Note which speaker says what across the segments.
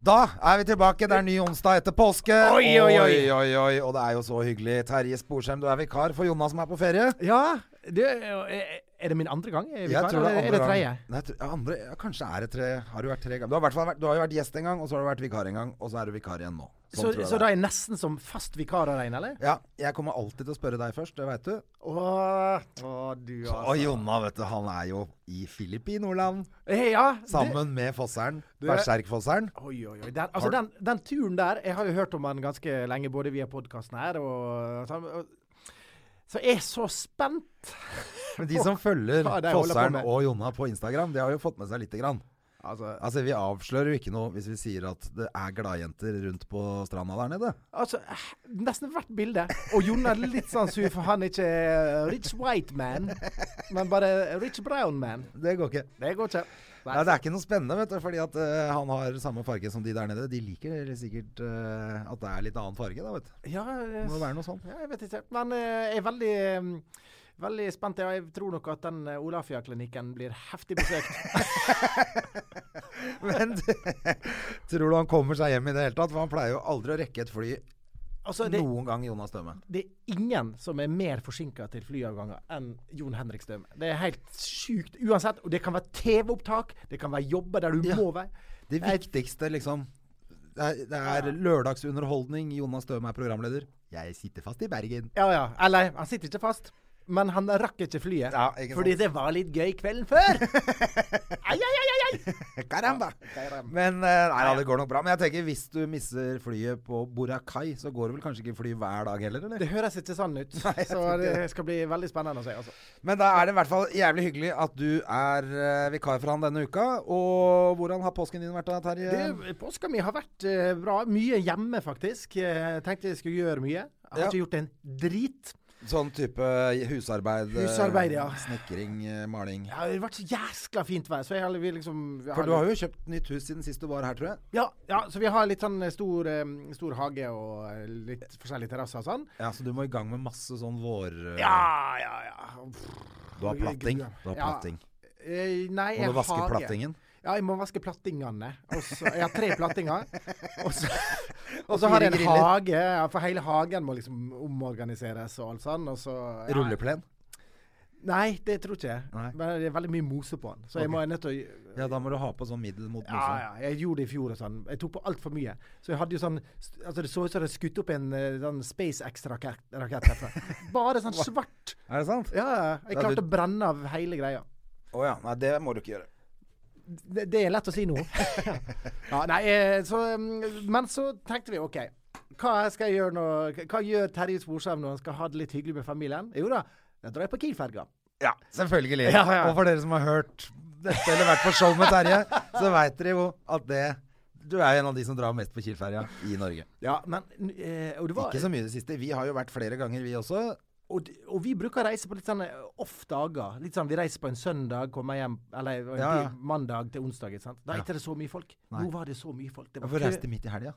Speaker 1: Da er vi tilbake. Det er ny onsdag etter påske.
Speaker 2: Oi, oi, oi.
Speaker 1: oi, oi. Og det er jo så hyggelig. Terje Sporsheim, du er vikar for Jonas som er på ferie.
Speaker 2: Ja, det, er- er det min andre gang? Er,
Speaker 1: Jeg tror det er andre
Speaker 2: er det
Speaker 1: gang.
Speaker 2: tredje?
Speaker 1: Nei, tr- ja, andre, ja, kanskje er det tre. Har du vært tre ganger? Du har, i hvert fall vært, du har jo vært gjest en gang, og så har du vært vikar en gang, og så er du vikar igjen nå. Sånn
Speaker 2: Så,
Speaker 1: tror jeg det
Speaker 2: så da
Speaker 1: er.
Speaker 2: er jeg nesten som fast vikar av deg, eller?
Speaker 1: Ja, jeg kommer alltid til å spørre deg først, det veit du.
Speaker 2: Åh, åh, du
Speaker 1: Og
Speaker 2: altså.
Speaker 1: Jonna, vet du, han er jo i Filippinoland
Speaker 2: Eh, ja, det-
Speaker 1: sammen med Fosseren.
Speaker 2: Det-
Speaker 1: Berserkfosseren.
Speaker 2: Oi, oi, oi. Den, altså, den, den turen der Jeg har jo hørt om den ganske lenge, både via podkasten her og så, og- så jeg er så spent.
Speaker 1: Men de som følger
Speaker 2: Ja, det holder jeg på
Speaker 1: Fosseren
Speaker 2: med.
Speaker 1: og Jonna på Instagram, de har jo fått med seg lite grann.
Speaker 2: Altså,
Speaker 1: Altså, Vi avslører jo ikke noe hvis vi sier at det er gladjenter rundt på stranda der nede.
Speaker 2: altså eh, Nesten hvert bilde. Og Jon er litt sånn sur, for han er ikke eh, rich white man, men bare rich brown man.
Speaker 1: Det går ikke.
Speaker 2: Det går ikke. Nei.
Speaker 1: Nei, Det er ikke noe spennende, vet du, fordi at eh, han har samme farge som de der nede. De liker sikkert eh, at det er litt annen farge, da, vet du.
Speaker 2: Ja, eh,
Speaker 1: Det må jo være noe sånn.
Speaker 2: ja, jeg vet ikke. Men eh, jeg er veldig eh, Veldig spent. Ja, Jeg tror nok at den eh, Olafia-klinikken blir heftig besøkt.
Speaker 1: Men tror du han kommer seg hjem i det hele tatt? For han pleier jo aldri å rekke et fly
Speaker 2: Altså, det,
Speaker 1: noen gang, Jonas Døme.
Speaker 2: det er ingen som er mer forsinka til flyavganger enn Jon Henrik Støme. Det er helt sjukt. Uansett. Og det kan være TV-opptak, det kan være jobber der du
Speaker 1: Ja.
Speaker 2: må være.
Speaker 1: Det viktigste, liksom Det er, det er lørdagsunderholdning. Jonas Døme er programleder. Jeg sitter fast i Bergen.
Speaker 2: Ja, ja. Eller, han sitter ikke fast. Men han rakk ikke flyet.
Speaker 1: Ja, ikke sant.
Speaker 2: fordi det var litt gøy kvelden før. ai, ai, ai, ai, ai.
Speaker 1: Caramba! Men eh, nei, ja, det går nok bra. Men jeg tenker hvis du misser flyet på Boracay, så går det vel kanskje ikke fly hver dag heller, eller?
Speaker 2: Det høres ikke sånn ut.
Speaker 1: jeg
Speaker 2: så
Speaker 1: tror ikke
Speaker 2: det
Speaker 1: det.
Speaker 2: skal bli veldig spennende å se. Altså.
Speaker 1: Men da er det i hvert fall jævlig hyggelig at du er eh, vikar for han denne uka. Og hvordan har påsken din vært da, Terje?
Speaker 2: Du, påska mi har vært eh, bra. Mye hjemme, faktisk. Eh, tenkte jeg skulle gjøre mye. Jeg har
Speaker 1: Ja.
Speaker 2: ikke gjort en drit.
Speaker 1: Sånn type husarbeid, eh,
Speaker 2: Husarbeid, ja.
Speaker 1: snekring, eh, maling.
Speaker 2: Ja, det har vært så jæskla fint vær, så jeg har vi liksom jeg
Speaker 1: For du har jo kjøpt nytt hus siden sist du var her, tror jeg.
Speaker 2: ja, ja, så vi har litt sånn eh, stor, eh, stor hage og eh, litt forskjellige terrasser og sånn.
Speaker 1: Ja, Så du må i gang med masse sånn vår... eh,
Speaker 2: Ja, ja, ja.
Speaker 1: Du har platting. Du har
Speaker 2: Ja.
Speaker 1: platting.
Speaker 2: Eh, nei,
Speaker 1: Må
Speaker 2: jeg
Speaker 1: du vaske
Speaker 2: har-
Speaker 1: plattingen?
Speaker 2: Ja, jeg må vaske plattingene. Og så- jeg har tre plattinger. Og så, og
Speaker 1: Og
Speaker 2: så har
Speaker 1: fire
Speaker 2: jeg en
Speaker 1: griller.
Speaker 2: hage, ja, for hele hagen må liksom omorganiseres og alt sånn. Og så, ja.
Speaker 1: Rulleplen?
Speaker 2: Nei, det tror ikke jeg.
Speaker 1: Nei.
Speaker 2: Men det er veldig mye mose på den. Så jeg må er nødt til å
Speaker 1: Ja, da må du ha på sånn middel mot
Speaker 2: ja,
Speaker 1: mose.
Speaker 2: ja, jeg gjorde det i fjor og sånn. Jeg tok på altfor mye. Så jeg hadde jo sånn st- Altså, det så ut som jeg hadde skutt opp en eh, sånn SpaceX-rakett herfra. Bare sånn svart.
Speaker 1: Er det sant?
Speaker 2: Ja, ja. Jeg
Speaker 1: Ja, du-
Speaker 2: klarte å brenne av hele greia.
Speaker 1: Å ja. Nei, det må du ikke gjøre.
Speaker 2: Det, det er lett å si nå. ja, nei, eh, så mm, Men så tenkte vi OK. Hva skal jeg gjøre nå? Hva gjør Terje Sporsheim når han skal ha det litt hyggelig med familien? Jo da, da drar jeg på Kiel-ferga.
Speaker 1: Ja, selvfølgelig.
Speaker 2: Ja, ja.
Speaker 1: Og for dere som har hørt dette eller vært på show med Terje, så veit dere jo at det Du er jo en av de som drar mest på Kiel-ferja i Norge.
Speaker 2: Ja, men eh, Og det var
Speaker 1: Ikke så mye i det siste. Vi har jo vært flere ganger, vi også.
Speaker 2: Og, d- og vi bruker å reise på litt sånne off-dager. Litt sånn, Vi reiser på en søndag, kommer hjem Eller en
Speaker 1: Ja, ja.
Speaker 2: ti- mandag til onsdag. ikke sant? Da er ikke det så mye folk.
Speaker 1: Nei.
Speaker 2: Nå var det så mye folk. Det var
Speaker 1: Hvorfor
Speaker 2: kø.
Speaker 1: reiste midt i helga?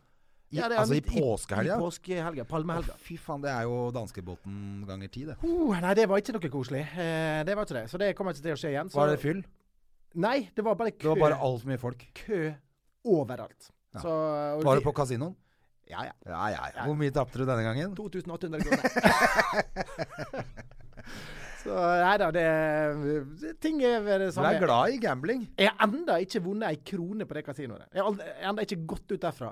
Speaker 1: I,
Speaker 2: Ja, det er
Speaker 1: altså i
Speaker 2: midt
Speaker 1: påskehelga?
Speaker 2: I påskehelga. Palmehelga.
Speaker 1: Fy faen, det er jo danskebåten ganger ti, det.
Speaker 2: Oh, nei, det var ikke noe koselig. Eh, det var ikke det. Så det kommer ikke til å skje igjen. Så,
Speaker 1: Var det fyll?
Speaker 2: Nei, det var bare kø.
Speaker 1: Det var bare altfor mye folk.
Speaker 2: kø overalt.
Speaker 1: Ja.
Speaker 2: Så, og
Speaker 1: Var
Speaker 2: vi-
Speaker 1: du på kasinoen?
Speaker 2: Ja, ja.
Speaker 1: Ja, ja, ja. Hvor mye tapte du denne gangen?
Speaker 2: 2800 kroner. så nei da, det Ting er ved det
Speaker 1: Du
Speaker 2: samme.
Speaker 1: er glad i gambling.
Speaker 2: Jeg har enda ikke vunnet ei krone på det kasinoet. Jeg har aldri- jeg har enda ikke gått ut derfra.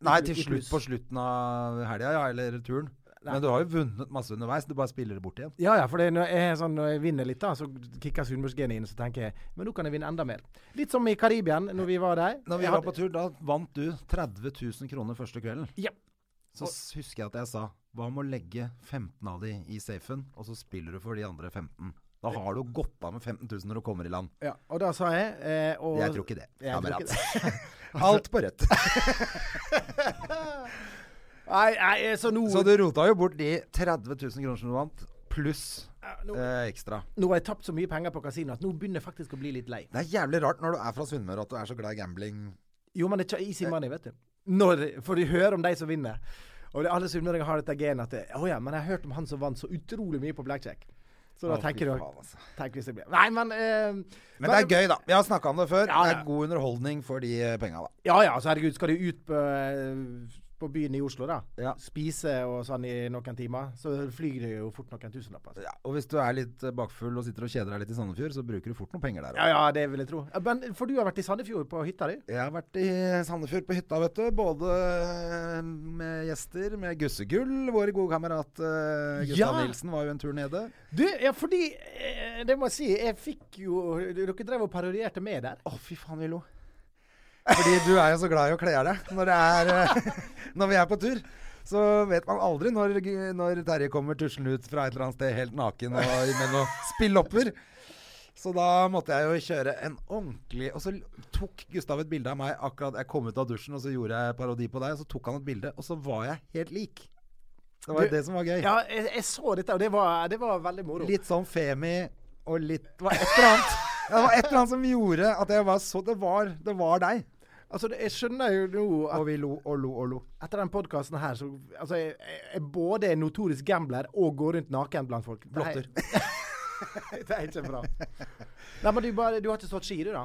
Speaker 1: Nei, til
Speaker 2: I
Speaker 1: slutt
Speaker 2: pluss.
Speaker 1: på slutten av helga, ja. Eller turen. Men du har jo vunnet masse underveis. Du bare spiller det bort igjen.
Speaker 2: Ja ja, for det, når, jeg, er sånn, når jeg vinner litt, da, så kicker sunnmørsgenet inn, så tenker jeg men nå kan jeg vinne enda mer. Litt som i Karibia, når vi var der.
Speaker 1: Når vi var på tur, da vant du 30 000 kroner første kvelden.
Speaker 2: Ja.
Speaker 1: Så s- husker jeg at jeg sa hva med å legge 15 av de i safen, og så spiller du for de andre 15 Da har du godt av med 15 000 når du kommer i land.
Speaker 2: Ja, og da sa jeg eh, og,
Speaker 1: Jeg tror ikke det,
Speaker 2: Jeg tror
Speaker 1: kamerat.
Speaker 2: ikke det. Altså-
Speaker 1: Alt på rødt.
Speaker 2: Nei, nei, eh, så nå
Speaker 1: Så du rota jo bort de 30 000 kroner som du vant, pluss eh, ekstra.
Speaker 2: Nå har jeg tapt så mye penger på kasino at nå begynner jeg faktisk å bli litt lei.
Speaker 1: Det er jævlig rart når du er fra Sunnmøre at du er så glad i gambling.
Speaker 2: Jo, men det er ikke easy money, vet du. Når, for du hører om de som vinner. Og det, alle sunnmøringer har dette genet at det, Å ja, men jeg har hørt om han som vant så utrolig mye på blackjack. Så da
Speaker 1: Å, fy
Speaker 2: tenker du
Speaker 1: faen, altså.
Speaker 2: tenker du så blir- Nei, men eh,
Speaker 1: Men det er gøy, da. Vi har snakka om det før.
Speaker 2: Ja,
Speaker 1: Det
Speaker 2: ja.
Speaker 1: er god underholdning for de eh, penga, da.
Speaker 2: Ja ja, så herregud, skal du ut på, eh, på byen i Oslo, da.
Speaker 1: Ja.
Speaker 2: Spise og sånn i noen timer. Så flyr det jo fort noen tusenlapper. Altså.
Speaker 1: Ja, og hvis du er litt eh, bakfull og sitter og kjeder deg litt i Sandefjord, så bruker du fort noen penger der
Speaker 2: Ja
Speaker 1: òg.
Speaker 2: ja, det vil jeg tro. Ja, Men, for du har vært i Sandefjord på hytta di?
Speaker 1: Jeg har vært i Sandefjord på hytta, vet du. Både eh, med gjester, med Gussegull. Vår gode kamerat eh, Gustav
Speaker 2: Ja.
Speaker 1: Nilsen var jo en tur nede.
Speaker 2: Du, ja, fordi eh, Det må jeg si. Jeg fikk jo Dere drev og parodierte meg der.
Speaker 1: Å, fy faen, vi lo. Fordi du er jo så glad i å kle av deg når, det er, eh, når vi er på tur. Så vet man aldri når, g- når Terje kommer tuslende ut fra et eller annet sted helt naken og med noen spillopper. Så da måtte jeg jo kjøre en ordentlig Og så tok Gustav et bilde av meg akkurat jeg kom ut av dusjen, og så gjorde jeg parodi på deg. Og så tok han et bilde, og så var jeg helt lik. Det var
Speaker 2: Du-
Speaker 1: jo det som var gøy.
Speaker 2: Ja, jeg, jeg så dette, og det var, det var veldig moro.
Speaker 1: Litt sånn femi og litt Det var et eller annet. Det var et eller annet som gjorde at jeg var så Det var, det var deg.
Speaker 2: Altså, det- jeg skjønner jo nå at
Speaker 1: Og vi lo og lo og lo.
Speaker 2: etter den podkasten her, så altså, jeg, jeg, jeg både er notorisk gambler og går rundt naken blant folk. Det er- det er ikke bra. Nei, men du, bare, du har ikke stått ski, du, da?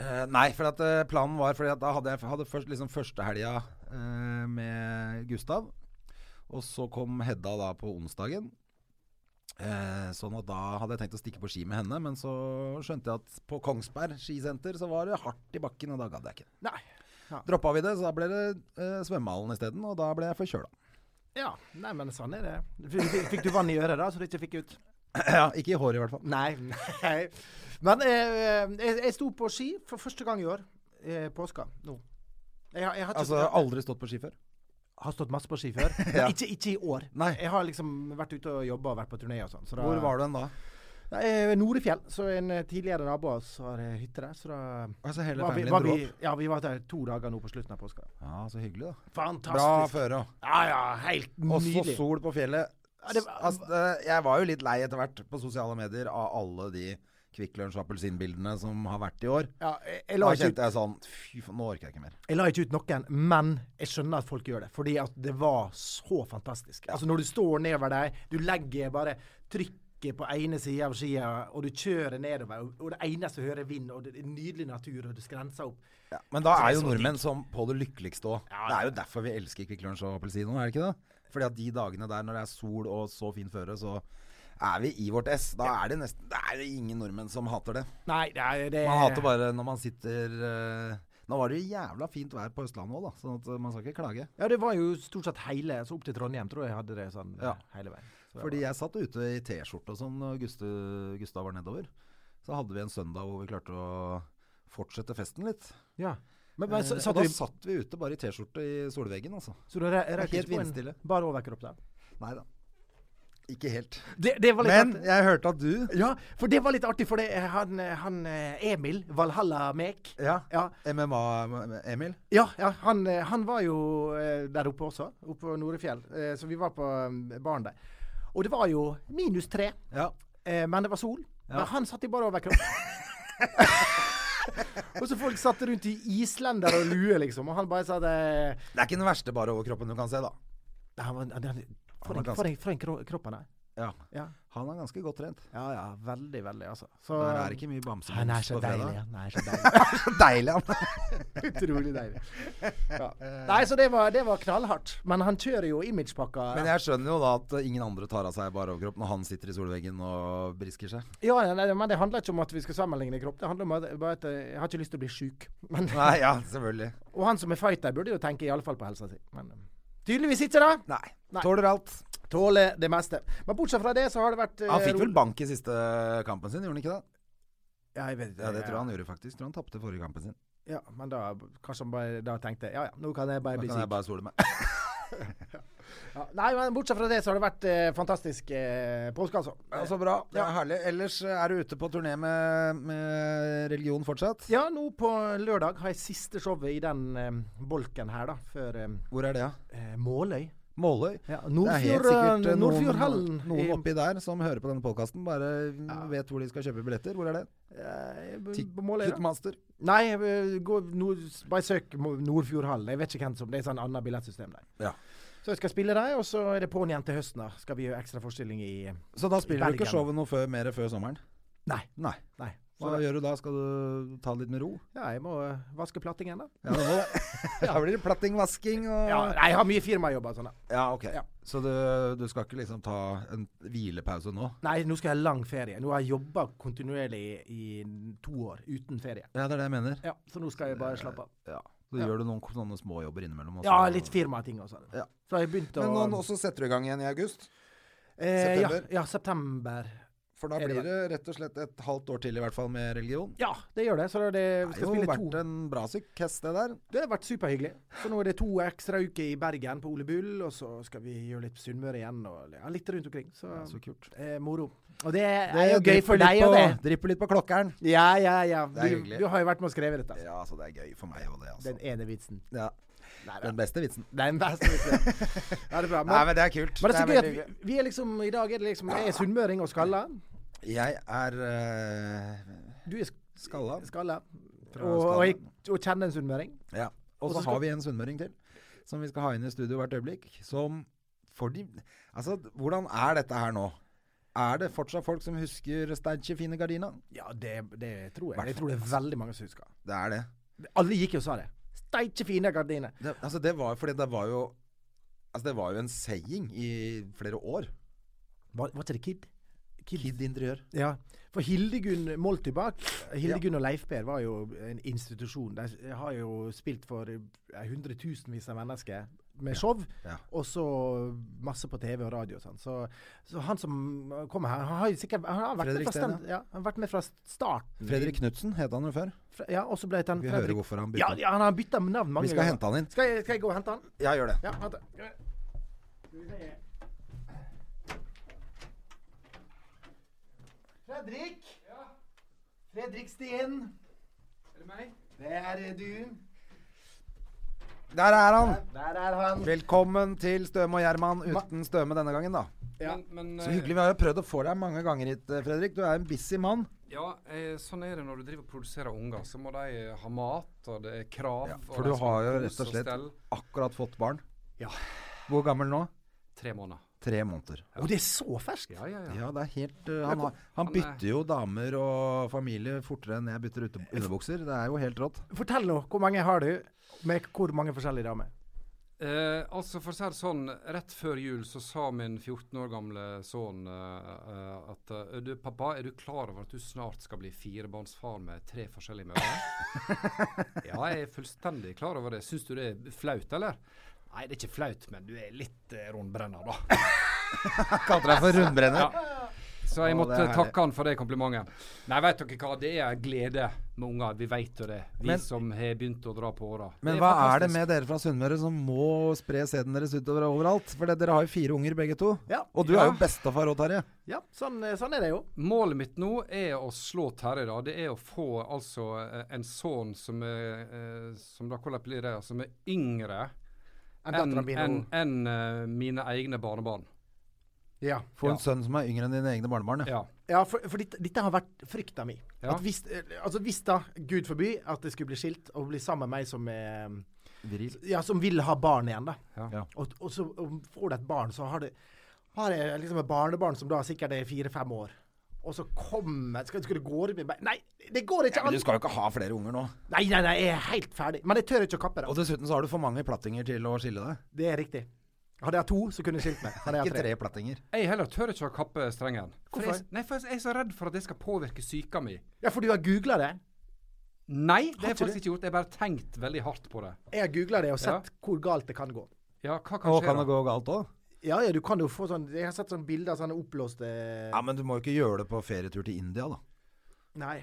Speaker 1: Eh, nei, for at eh, planen var fordi at da hadde jeg hadde først, liksom første helga eh, med Gustav. Og så kom Hedda da på onsdagen. Eh, sånn at da hadde jeg tenkt å stikke på ski med henne, men så skjønte jeg at på Kongsberg skisenter så var det hardt i bakken, og da gadd jeg ikke.
Speaker 2: Nei. Ja.
Speaker 1: Droppa vi det, så da ble det eh, svømmehallen isteden, og da ble jeg forkjøla.
Speaker 2: ja. Nei, men sånn er det. Fikk, fikk du vann i øret, da, så du ikke fikk ut?
Speaker 1: ja, ikke i håret i hvert fall.
Speaker 2: Nei. nei. Men eh, jeg, jeg sto på ski for første gang i år. Eh, påska. Nå. Jeg, har- jeg har ikke
Speaker 1: Altså aldri stått på ski før.
Speaker 2: har stått masse på ski før.
Speaker 1: Ja.
Speaker 2: Men ikke, ikke i år.
Speaker 1: Nei.
Speaker 2: Jeg har liksom vært ute og jobba og vært på turné og sånn. Så da-
Speaker 1: Hvor var du hen da?
Speaker 2: Nei, eh, Norefjell. Så en eh, tidligere nabo av oss har eh, hytte der. Så da
Speaker 1: Altså hele
Speaker 2: var vi,
Speaker 1: familien
Speaker 2: var
Speaker 1: dro
Speaker 2: vi,
Speaker 1: opp.
Speaker 2: ja, vi var der to dager nå på slutten av påska.
Speaker 1: Ja, så hyggelig, da. Bra
Speaker 2: Fantastisk.
Speaker 1: føre òg.
Speaker 2: Ja, ja, helt
Speaker 1: Også
Speaker 2: nydelig.
Speaker 1: sol på fjellet.
Speaker 2: Ja, det var-
Speaker 1: altså, det- jeg var jo litt lei etter hvert på sosiale medier av alle de Kvikk Lunsj og appelsinbildene som har vært i år.
Speaker 2: Ja, jeg, jeg, la
Speaker 1: Da
Speaker 2: ikke
Speaker 1: kjente
Speaker 2: ut,
Speaker 1: jeg sånn Fy faen, nå orker jeg ikke mer.
Speaker 2: jeg la ikke ut noen, men jeg skjønner at folk gjør det. Fordi at det var så fantastisk. Altså Når du står nedover deg, du legger bare trykket på ene sida av skia, og du kjører nedover, og, og det eneste du hører, er vind, og det er nydelig natur, og det skrenser opp.
Speaker 1: Men da er jo
Speaker 2: det er så
Speaker 1: nordmenn som på det lykkeligste òg. Det er jo derfor vi elsker Kvikk Lunsj og appelsin nå, er det ikke det? Fordi at de dagene der når det er sol og så fin føre, så er vi i vårt ess. Da er det nesten Det er jo ingen nordmenn som hater det.
Speaker 2: Nei, det er det
Speaker 1: Man hater bare når man sitter eh, Nå var det jo jævla fint vær på Østlandet òg, da, sånn at eh, man skal ikke klage.
Speaker 2: Ja, det var jo stort sett hele Så opp til Trondheim tror jeg jeg hadde det sånn
Speaker 1: Ja.
Speaker 2: hele veien. Så det
Speaker 1: Fordi jeg satt ute i T-skjorte og sånn når Guste, Gustav var nedover. Så hadde vi en søndag hvor vi klarte å fortsette festen litt.
Speaker 2: var- ja. Men, men
Speaker 1: Eh,
Speaker 2: så,
Speaker 1: og
Speaker 2: satt
Speaker 1: da
Speaker 2: du,
Speaker 1: satt vi ute bare i T-skjorte i solveggen, altså.
Speaker 2: så du rø- røk
Speaker 1: helt
Speaker 2: ikke på en
Speaker 1: vindstille.
Speaker 2: bar overkropp der?
Speaker 1: Nei da. Ikke helt.
Speaker 2: Det, det var litt
Speaker 1: Men
Speaker 2: artig.
Speaker 1: jeg hørte at du
Speaker 2: Ja, for det var litt artig, for det, han, han eh, Emil Valhalla Mek
Speaker 1: Ja.
Speaker 2: Ja.
Speaker 1: MMA-Emil.
Speaker 2: Ja, ja han, eh, han var jo eh, der oppe også, oppe på Norefjell. eh, Så vi var på eh, baren der. Og det var jo minus tre,
Speaker 1: Ja.
Speaker 2: eh, men det var sol. Men han satt i bar overkropp. og så folk satt rundt i islender og lue, liksom. Og han bare sa det
Speaker 1: Det er ikke den verste bare overkroppen du kan se, da.
Speaker 2: Nei, han var, han, han, for,
Speaker 1: var
Speaker 2: en,
Speaker 1: ganske-
Speaker 2: for, en, for en kro- kropp han er.
Speaker 1: Ja.
Speaker 2: Ja.
Speaker 1: Han er ganske godt trent.
Speaker 2: ja ja, veldig, veldig, altså. Så,
Speaker 1: Der er det ikke mye bamsebums
Speaker 2: Han er så
Speaker 1: på fredag.
Speaker 2: deilig. Han er så deilig.
Speaker 1: Så deilig han er.
Speaker 2: Utrolig deilig. Ja. Nei, så det var, det var knallhardt. Men han kjører jo imagepakka.
Speaker 1: Men jeg skjønner jo da at eh, ingen andre tar av seg bare overkropp når han sitter i solveggen og brisker seg.
Speaker 2: Ja, nei, nei, men det handler ikke om at vi skal sammenligne kropp. Det handler om at, bare at eh, jeg har ikke lyst til å bli sjuk. Men,
Speaker 1: Nei, ja, selvfølgelig.
Speaker 2: og han som er fighter, burde jo tenke iallfall på helsa si. Men eh, tydeligvis ikke, da.
Speaker 1: Nei.
Speaker 2: Nei.
Speaker 1: Tåler alt.
Speaker 2: Tåler det meste. Men bortsett fra det, så har det vært eh,
Speaker 1: Han fikk vel
Speaker 2: rolig-
Speaker 1: bank i siste eh, kampen sin, gjorde han ikke det?
Speaker 2: Ja, jeg vet,
Speaker 1: Ja, det tror jeg han gjorde, faktisk. Tror han tapte forrige kampen sin.
Speaker 2: Ja, men da kanskje han bare da tenkte Ja ja, nå kan jeg bare
Speaker 1: Da
Speaker 2: bli
Speaker 1: kan jeg
Speaker 2: syk.
Speaker 1: bare sole meg.
Speaker 2: Ja, nei, men bortsett fra det så har det vært eh, fantastisk eh, påske, altså.
Speaker 1: Ja, så bra. Det er herlig. Ellers eh, er du ute på turné med, med religion fortsatt?
Speaker 2: Ja, nå på lørdag har jeg siste showet i den eh, bolken her, da. Før eh,
Speaker 1: Hvor er det, da?
Speaker 2: eh, Måløy.
Speaker 1: Måløy?
Speaker 2: Ja,
Speaker 1: det er
Speaker 2: Nordfjord,
Speaker 1: helt sikkert eh,
Speaker 2: eh,
Speaker 1: noen,
Speaker 2: Nordfjordhallen
Speaker 1: noen
Speaker 2: i-
Speaker 1: oppi der som hører på denne podkasten, bare vet hvor de skal kjøpe billetter. Hvor er det?
Speaker 2: Eh,
Speaker 1: Tik-
Speaker 2: på Måløy, da.
Speaker 1: Ticketmaster.
Speaker 2: Nei, eh, gå, nord, bare søk Mo- Nordfjordhallen. Jeg vet ikke hvem som Det er sånn annet billettsystem der.
Speaker 1: Ja.
Speaker 2: Så jeg skal spille der, og så er det på'n igjen til høsten. da Skal vi gjøre ekstra forestilling i eh,
Speaker 1: Så da spiller du
Speaker 2: Bergen.
Speaker 1: ikke showet noe før, mer før sommeren?
Speaker 2: Nei.
Speaker 1: Nei.
Speaker 2: Nei.
Speaker 1: Så hva gjør du da? Skal du ta det litt med ro?
Speaker 2: Ja, jeg må eh, vaske plattingen, da. Eh,
Speaker 1: Ja, det må det. Da blir det plattingvasking og
Speaker 2: Ja, nei, jeg har mye firmajobber og sånn. da.
Speaker 1: Ja, ok.
Speaker 2: Ja.
Speaker 1: Så du, du skal ikke liksom ta en hvilepause nå?
Speaker 2: Nei, nå skal jeg ha lang ferie. Nå har jeg jobba kontinuerlig i to år uten ferie.
Speaker 1: Ja, det er det jeg mener.
Speaker 2: Ja, Så nå skal jeg bare slappe av.
Speaker 1: Ja. Så gjør du noen k- sånne småjobber innimellom? og
Speaker 2: Ja,
Speaker 1: så-
Speaker 2: litt firmating og sånn.
Speaker 1: Ja.
Speaker 2: Så har jeg begynt å
Speaker 1: Men nå, nå også setter du i gang igjen i august?
Speaker 2: eh, ja,
Speaker 1: september.
Speaker 2: ja, september.
Speaker 1: For da
Speaker 2: Er det
Speaker 1: blir det rett og slett et halvt år til i hvert fall med religion.
Speaker 2: Ja, det gjør det. Så da er det, vi
Speaker 1: Det
Speaker 2: skal
Speaker 1: har jo
Speaker 2: spille
Speaker 1: vært
Speaker 2: to.
Speaker 1: en bra sukkess, det der.
Speaker 2: Det har vært superhyggelig. Så nå er det to ekstra uker i Bergen på Ole Bull, og så skal vi gjøre litt Sunnmøre igjen og ja, litt rundt omkring. Så,
Speaker 1: Så kult.
Speaker 2: eh, moro. Og det er, jo gøy for deg
Speaker 1: på,
Speaker 2: og det.
Speaker 1: Dripper litt på klokkeren.
Speaker 2: Ja, ja, ja.
Speaker 1: Det er
Speaker 2: Du,
Speaker 1: hyggelig.
Speaker 2: du har jo vært med og skrevet dette.
Speaker 1: Ja, så det er gøy for meg og det, altså.
Speaker 2: Den ene vitsen.
Speaker 1: ja. Den beste vitsen.
Speaker 2: Den beste vitsen. Ja, det er bra. Men-
Speaker 1: Nei, men det er kult.
Speaker 2: Men det er så gøy at
Speaker 1: veldig
Speaker 2: vi,
Speaker 1: gøy.
Speaker 2: vi er liksom I dag er det liksom Jeg er sunnmøring og skalla.
Speaker 1: Jeg er eh,
Speaker 2: Du er sk-
Speaker 1: skalla.
Speaker 2: skalla.
Speaker 1: Fra
Speaker 2: Og,
Speaker 1: Skalla.
Speaker 2: og, jeg, og kjenner en sunnmøring.
Speaker 1: Ja. Og så har vi en sunnmøring til, som vi skal ha inn i studio hvert øyeblikk. Som for de Altså, hvordan er dette her nå? Er det fortsatt folk som husker Steinkjer fine gardina?
Speaker 2: Ja, det, det tror jeg. Jeg tror det er veldig mange som husker.
Speaker 1: Det er det.
Speaker 2: Alle gikk jo og sa det. Steike fine gardiner.
Speaker 1: det altså, det var fordi det var jo Altså, det var jo en saying i flere år.
Speaker 2: Var, var ikke det Kid?
Speaker 1: Kid interiør.
Speaker 2: Ja. For Hildegunn Moltibakk, Hildegunn og Leif Per var jo en institusjon. De eh, har jo spilt for eh, hundretusenvis av mennesker med show,
Speaker 1: Ja.
Speaker 2: og så masse på TV og radio og sånn. Så, så han som kommer her, han har jo sikkert han har vært,
Speaker 1: Fredrik
Speaker 2: med fra,
Speaker 1: Steen,
Speaker 2: stand, ja, han har vært med fra starten.
Speaker 1: Fredrik Knutsen het han jo før.
Speaker 2: Fra- Ja, og så ble han
Speaker 1: Vi hører
Speaker 2: Fredrik
Speaker 1: hvorfor han
Speaker 2: ja,
Speaker 1: bytta.
Speaker 2: ja, han har bytta navn mange
Speaker 1: Vi skal hente han inn.
Speaker 2: Skal jeg, skal jeg gå og hente han?
Speaker 1: Ja, gjør det.
Speaker 2: Ja, vent da. Skal vi se. Fredrik! Fredrik Stien. Er det meg? Det er eh, du.
Speaker 1: Der er han!
Speaker 2: Der er han.
Speaker 1: Velkommen til Støme og Gjerman uten Støme denne gangen, da.
Speaker 2: Ja.
Speaker 3: Men, men
Speaker 1: Så
Speaker 3: eh,
Speaker 1: hyggelig. Vi har jo prøvd å få deg mange ganger hit, eh, Fredrik. Du er en busy mann.
Speaker 3: ja, eh, sånn er det når du driver og produserer unger. Så må de eh, ha mat, og det er krav. og
Speaker 1: For
Speaker 3: de
Speaker 1: du
Speaker 3: skal
Speaker 1: har
Speaker 3: ha
Speaker 1: jo
Speaker 3: kos
Speaker 1: rett og slett
Speaker 3: stell.
Speaker 1: akkurat fått barn.
Speaker 2: Ja.
Speaker 1: Hvor gammel nå?
Speaker 3: Tre måneder.
Speaker 1: Tre måneder.
Speaker 2: Og det er så ferskt!
Speaker 3: Ja, ja, ja.
Speaker 1: Ja, det er helt uh, han, har- han
Speaker 3: er-
Speaker 1: bytter jo damer og familie fortere enn jeg bytter ute- underbukser. Det er jo helt rått.
Speaker 2: Fortell nå, hvor mange har du? Med hvor mange forskjellige damer?
Speaker 3: Eh, altså for å si det sånn, Rett før jul så sa min 14 år gamle sønn eh, eh, at eh, du, 'Pappa, er du klar over at du snart skal bli firebarnsfar med tre forskjellige mødre?' ja, jeg er fullstendig klar over det. Syns du det er flaut, eller? Nei, det er ikke flaut, men du er litt eh, rundbrenner, da.
Speaker 1: Kalte deg for rundbrenner.
Speaker 3: Så jeg
Speaker 1: Å,
Speaker 3: måtte
Speaker 1: det er herlig.
Speaker 3: takke han for det komplimentet. Nei, vet dere hva, det er glede med unger. Vi vet jo det. Vi
Speaker 1: Men-
Speaker 3: som har begynt å dra på åra.
Speaker 1: Men
Speaker 3: Det
Speaker 1: hva er det
Speaker 3: fantastisk.
Speaker 1: med dere fra Sunnmøre som må spre sæden deres utover overalt? For det- dere har jo fire unger begge to.
Speaker 2: Ja.
Speaker 1: Og du
Speaker 3: Ja.
Speaker 1: er jo bestefar òg, Terje.
Speaker 2: Ja, sånn, eh, sånn er det jo.
Speaker 3: Målet mitt nå er å slå Terje, da. Det er å få altså eh, en sønn som er eh, som, da, hvordan blir det, som er yngre
Speaker 2: En
Speaker 3: enn
Speaker 2: datter av mine
Speaker 3: enn- enn, eh, mine egne barnebarn.
Speaker 2: Ja.
Speaker 1: Få en sønn som er yngre enn dine egne barnebarn. Ja.
Speaker 3: Ja.
Speaker 2: Ja, for, for dette, dette har vært frykta mi.
Speaker 3: Ja.
Speaker 2: At hvis, eh, altså hvis da, gud forby, at jeg skulle bli skilt og bli sammen med meg som, eh,
Speaker 1: Viril.
Speaker 2: ja, som vil ha barn igjen, da.
Speaker 3: Ja.
Speaker 1: Ja.
Speaker 2: Og, og så og får du et barn, så har, det, har jeg liksom et barnebarn som da sikkert er fire-fem år. Og så kommer skal, skal det gå rundt med meg Nei, det går ikke
Speaker 1: Men
Speaker 2: an!
Speaker 1: du skal jo ikke ha flere unger nå.
Speaker 2: Nei, nei, nei, jeg er helt ferdig. Men jeg tør ikke å kappe
Speaker 1: Og
Speaker 2: det.
Speaker 1: dessuten så har du for mange plattinger til å skille deg.
Speaker 2: Det er riktig. Hadde jeg hatt to, så kunne jeg skilt meg. Hadde jeg
Speaker 1: Ikke
Speaker 2: hatt tre.
Speaker 1: tre plattinger.
Speaker 3: Jeg heller tør ikke å kappe strengen. For
Speaker 2: Hvorfor?
Speaker 3: Jeg, nei, for jeg er så redd for at det skal påvirke psyka mi.
Speaker 2: Ja, for du har googla det.
Speaker 3: Nei, det har jeg
Speaker 2: ikke
Speaker 3: faktisk ikke gjort. Jeg har bare tenkt veldig hardt på det.
Speaker 2: Jeg har googla det og
Speaker 3: Ja.
Speaker 2: sett hvor galt det kan gå.
Speaker 3: Ja, hva kan
Speaker 1: Og
Speaker 3: skje
Speaker 1: kan det
Speaker 3: da?
Speaker 1: gå galt òg?
Speaker 2: Ja, ja, du kan jo få sånn Jeg har sett sånne bilder av sånne oppblåste
Speaker 1: Ja, men du må jo ikke gjøre det på ferietur til India, da.
Speaker 2: Nei.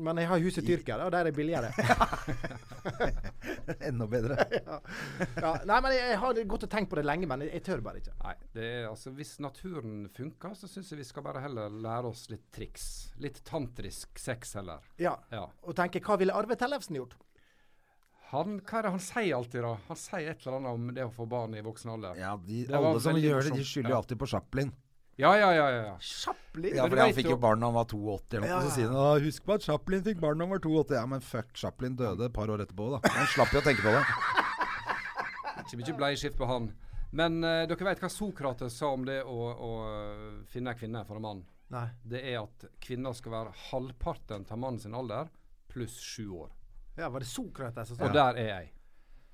Speaker 2: Men jeg har hus i Tyrkia, da, og der er det billigere.
Speaker 1: Enda bedre.
Speaker 2: Ja, nei, men jeg, jeg har gått og tenkt på det lenge, men jeg, jeg tør bare ikke.
Speaker 3: Nei, det er altså Hvis naturen funker, så syns jeg vi skal bare heller lære oss litt triks. Litt tantrisk sex heller.
Speaker 2: Ja.
Speaker 3: Ja.
Speaker 2: Og tenke hva ville Arve Tellefsen gjort?
Speaker 3: Han, hva er det han sier alltid, da? Han sier et eller annet om det å få barn i voksen alder.
Speaker 1: Ja, de,
Speaker 3: Det var
Speaker 1: alle som
Speaker 3: veldig
Speaker 1: gjør det, de
Speaker 3: morsomt.
Speaker 1: skylder jo
Speaker 3: Ja.
Speaker 1: alltid på Chaplin.
Speaker 3: Ja, ja, ja. ja, ja.
Speaker 2: Chaplin?
Speaker 1: Ja,
Speaker 3: Men
Speaker 1: for
Speaker 3: du
Speaker 1: han
Speaker 3: vet
Speaker 1: fikk
Speaker 3: jo-
Speaker 1: jo barn da han var 82 eller noe. Så sier han «Å, 'husk på at Chaplin fikk barn da han var 82'. Ja, men fuck, Chaplin døde et par år etterpå, da. Han slapp jo å tenke på det.
Speaker 3: Ikke mye bleieskift på han. Men eh, dere vet hva Sokrates sa om det å, å øh, finne ei kvinne for en mann?
Speaker 2: Nei.
Speaker 3: Det er at kvinner skal være halvparten av mannen sin alder pluss sju år.
Speaker 2: Ja, var det Sokrates som
Speaker 3: Og
Speaker 2: sa det?
Speaker 3: der er jeg.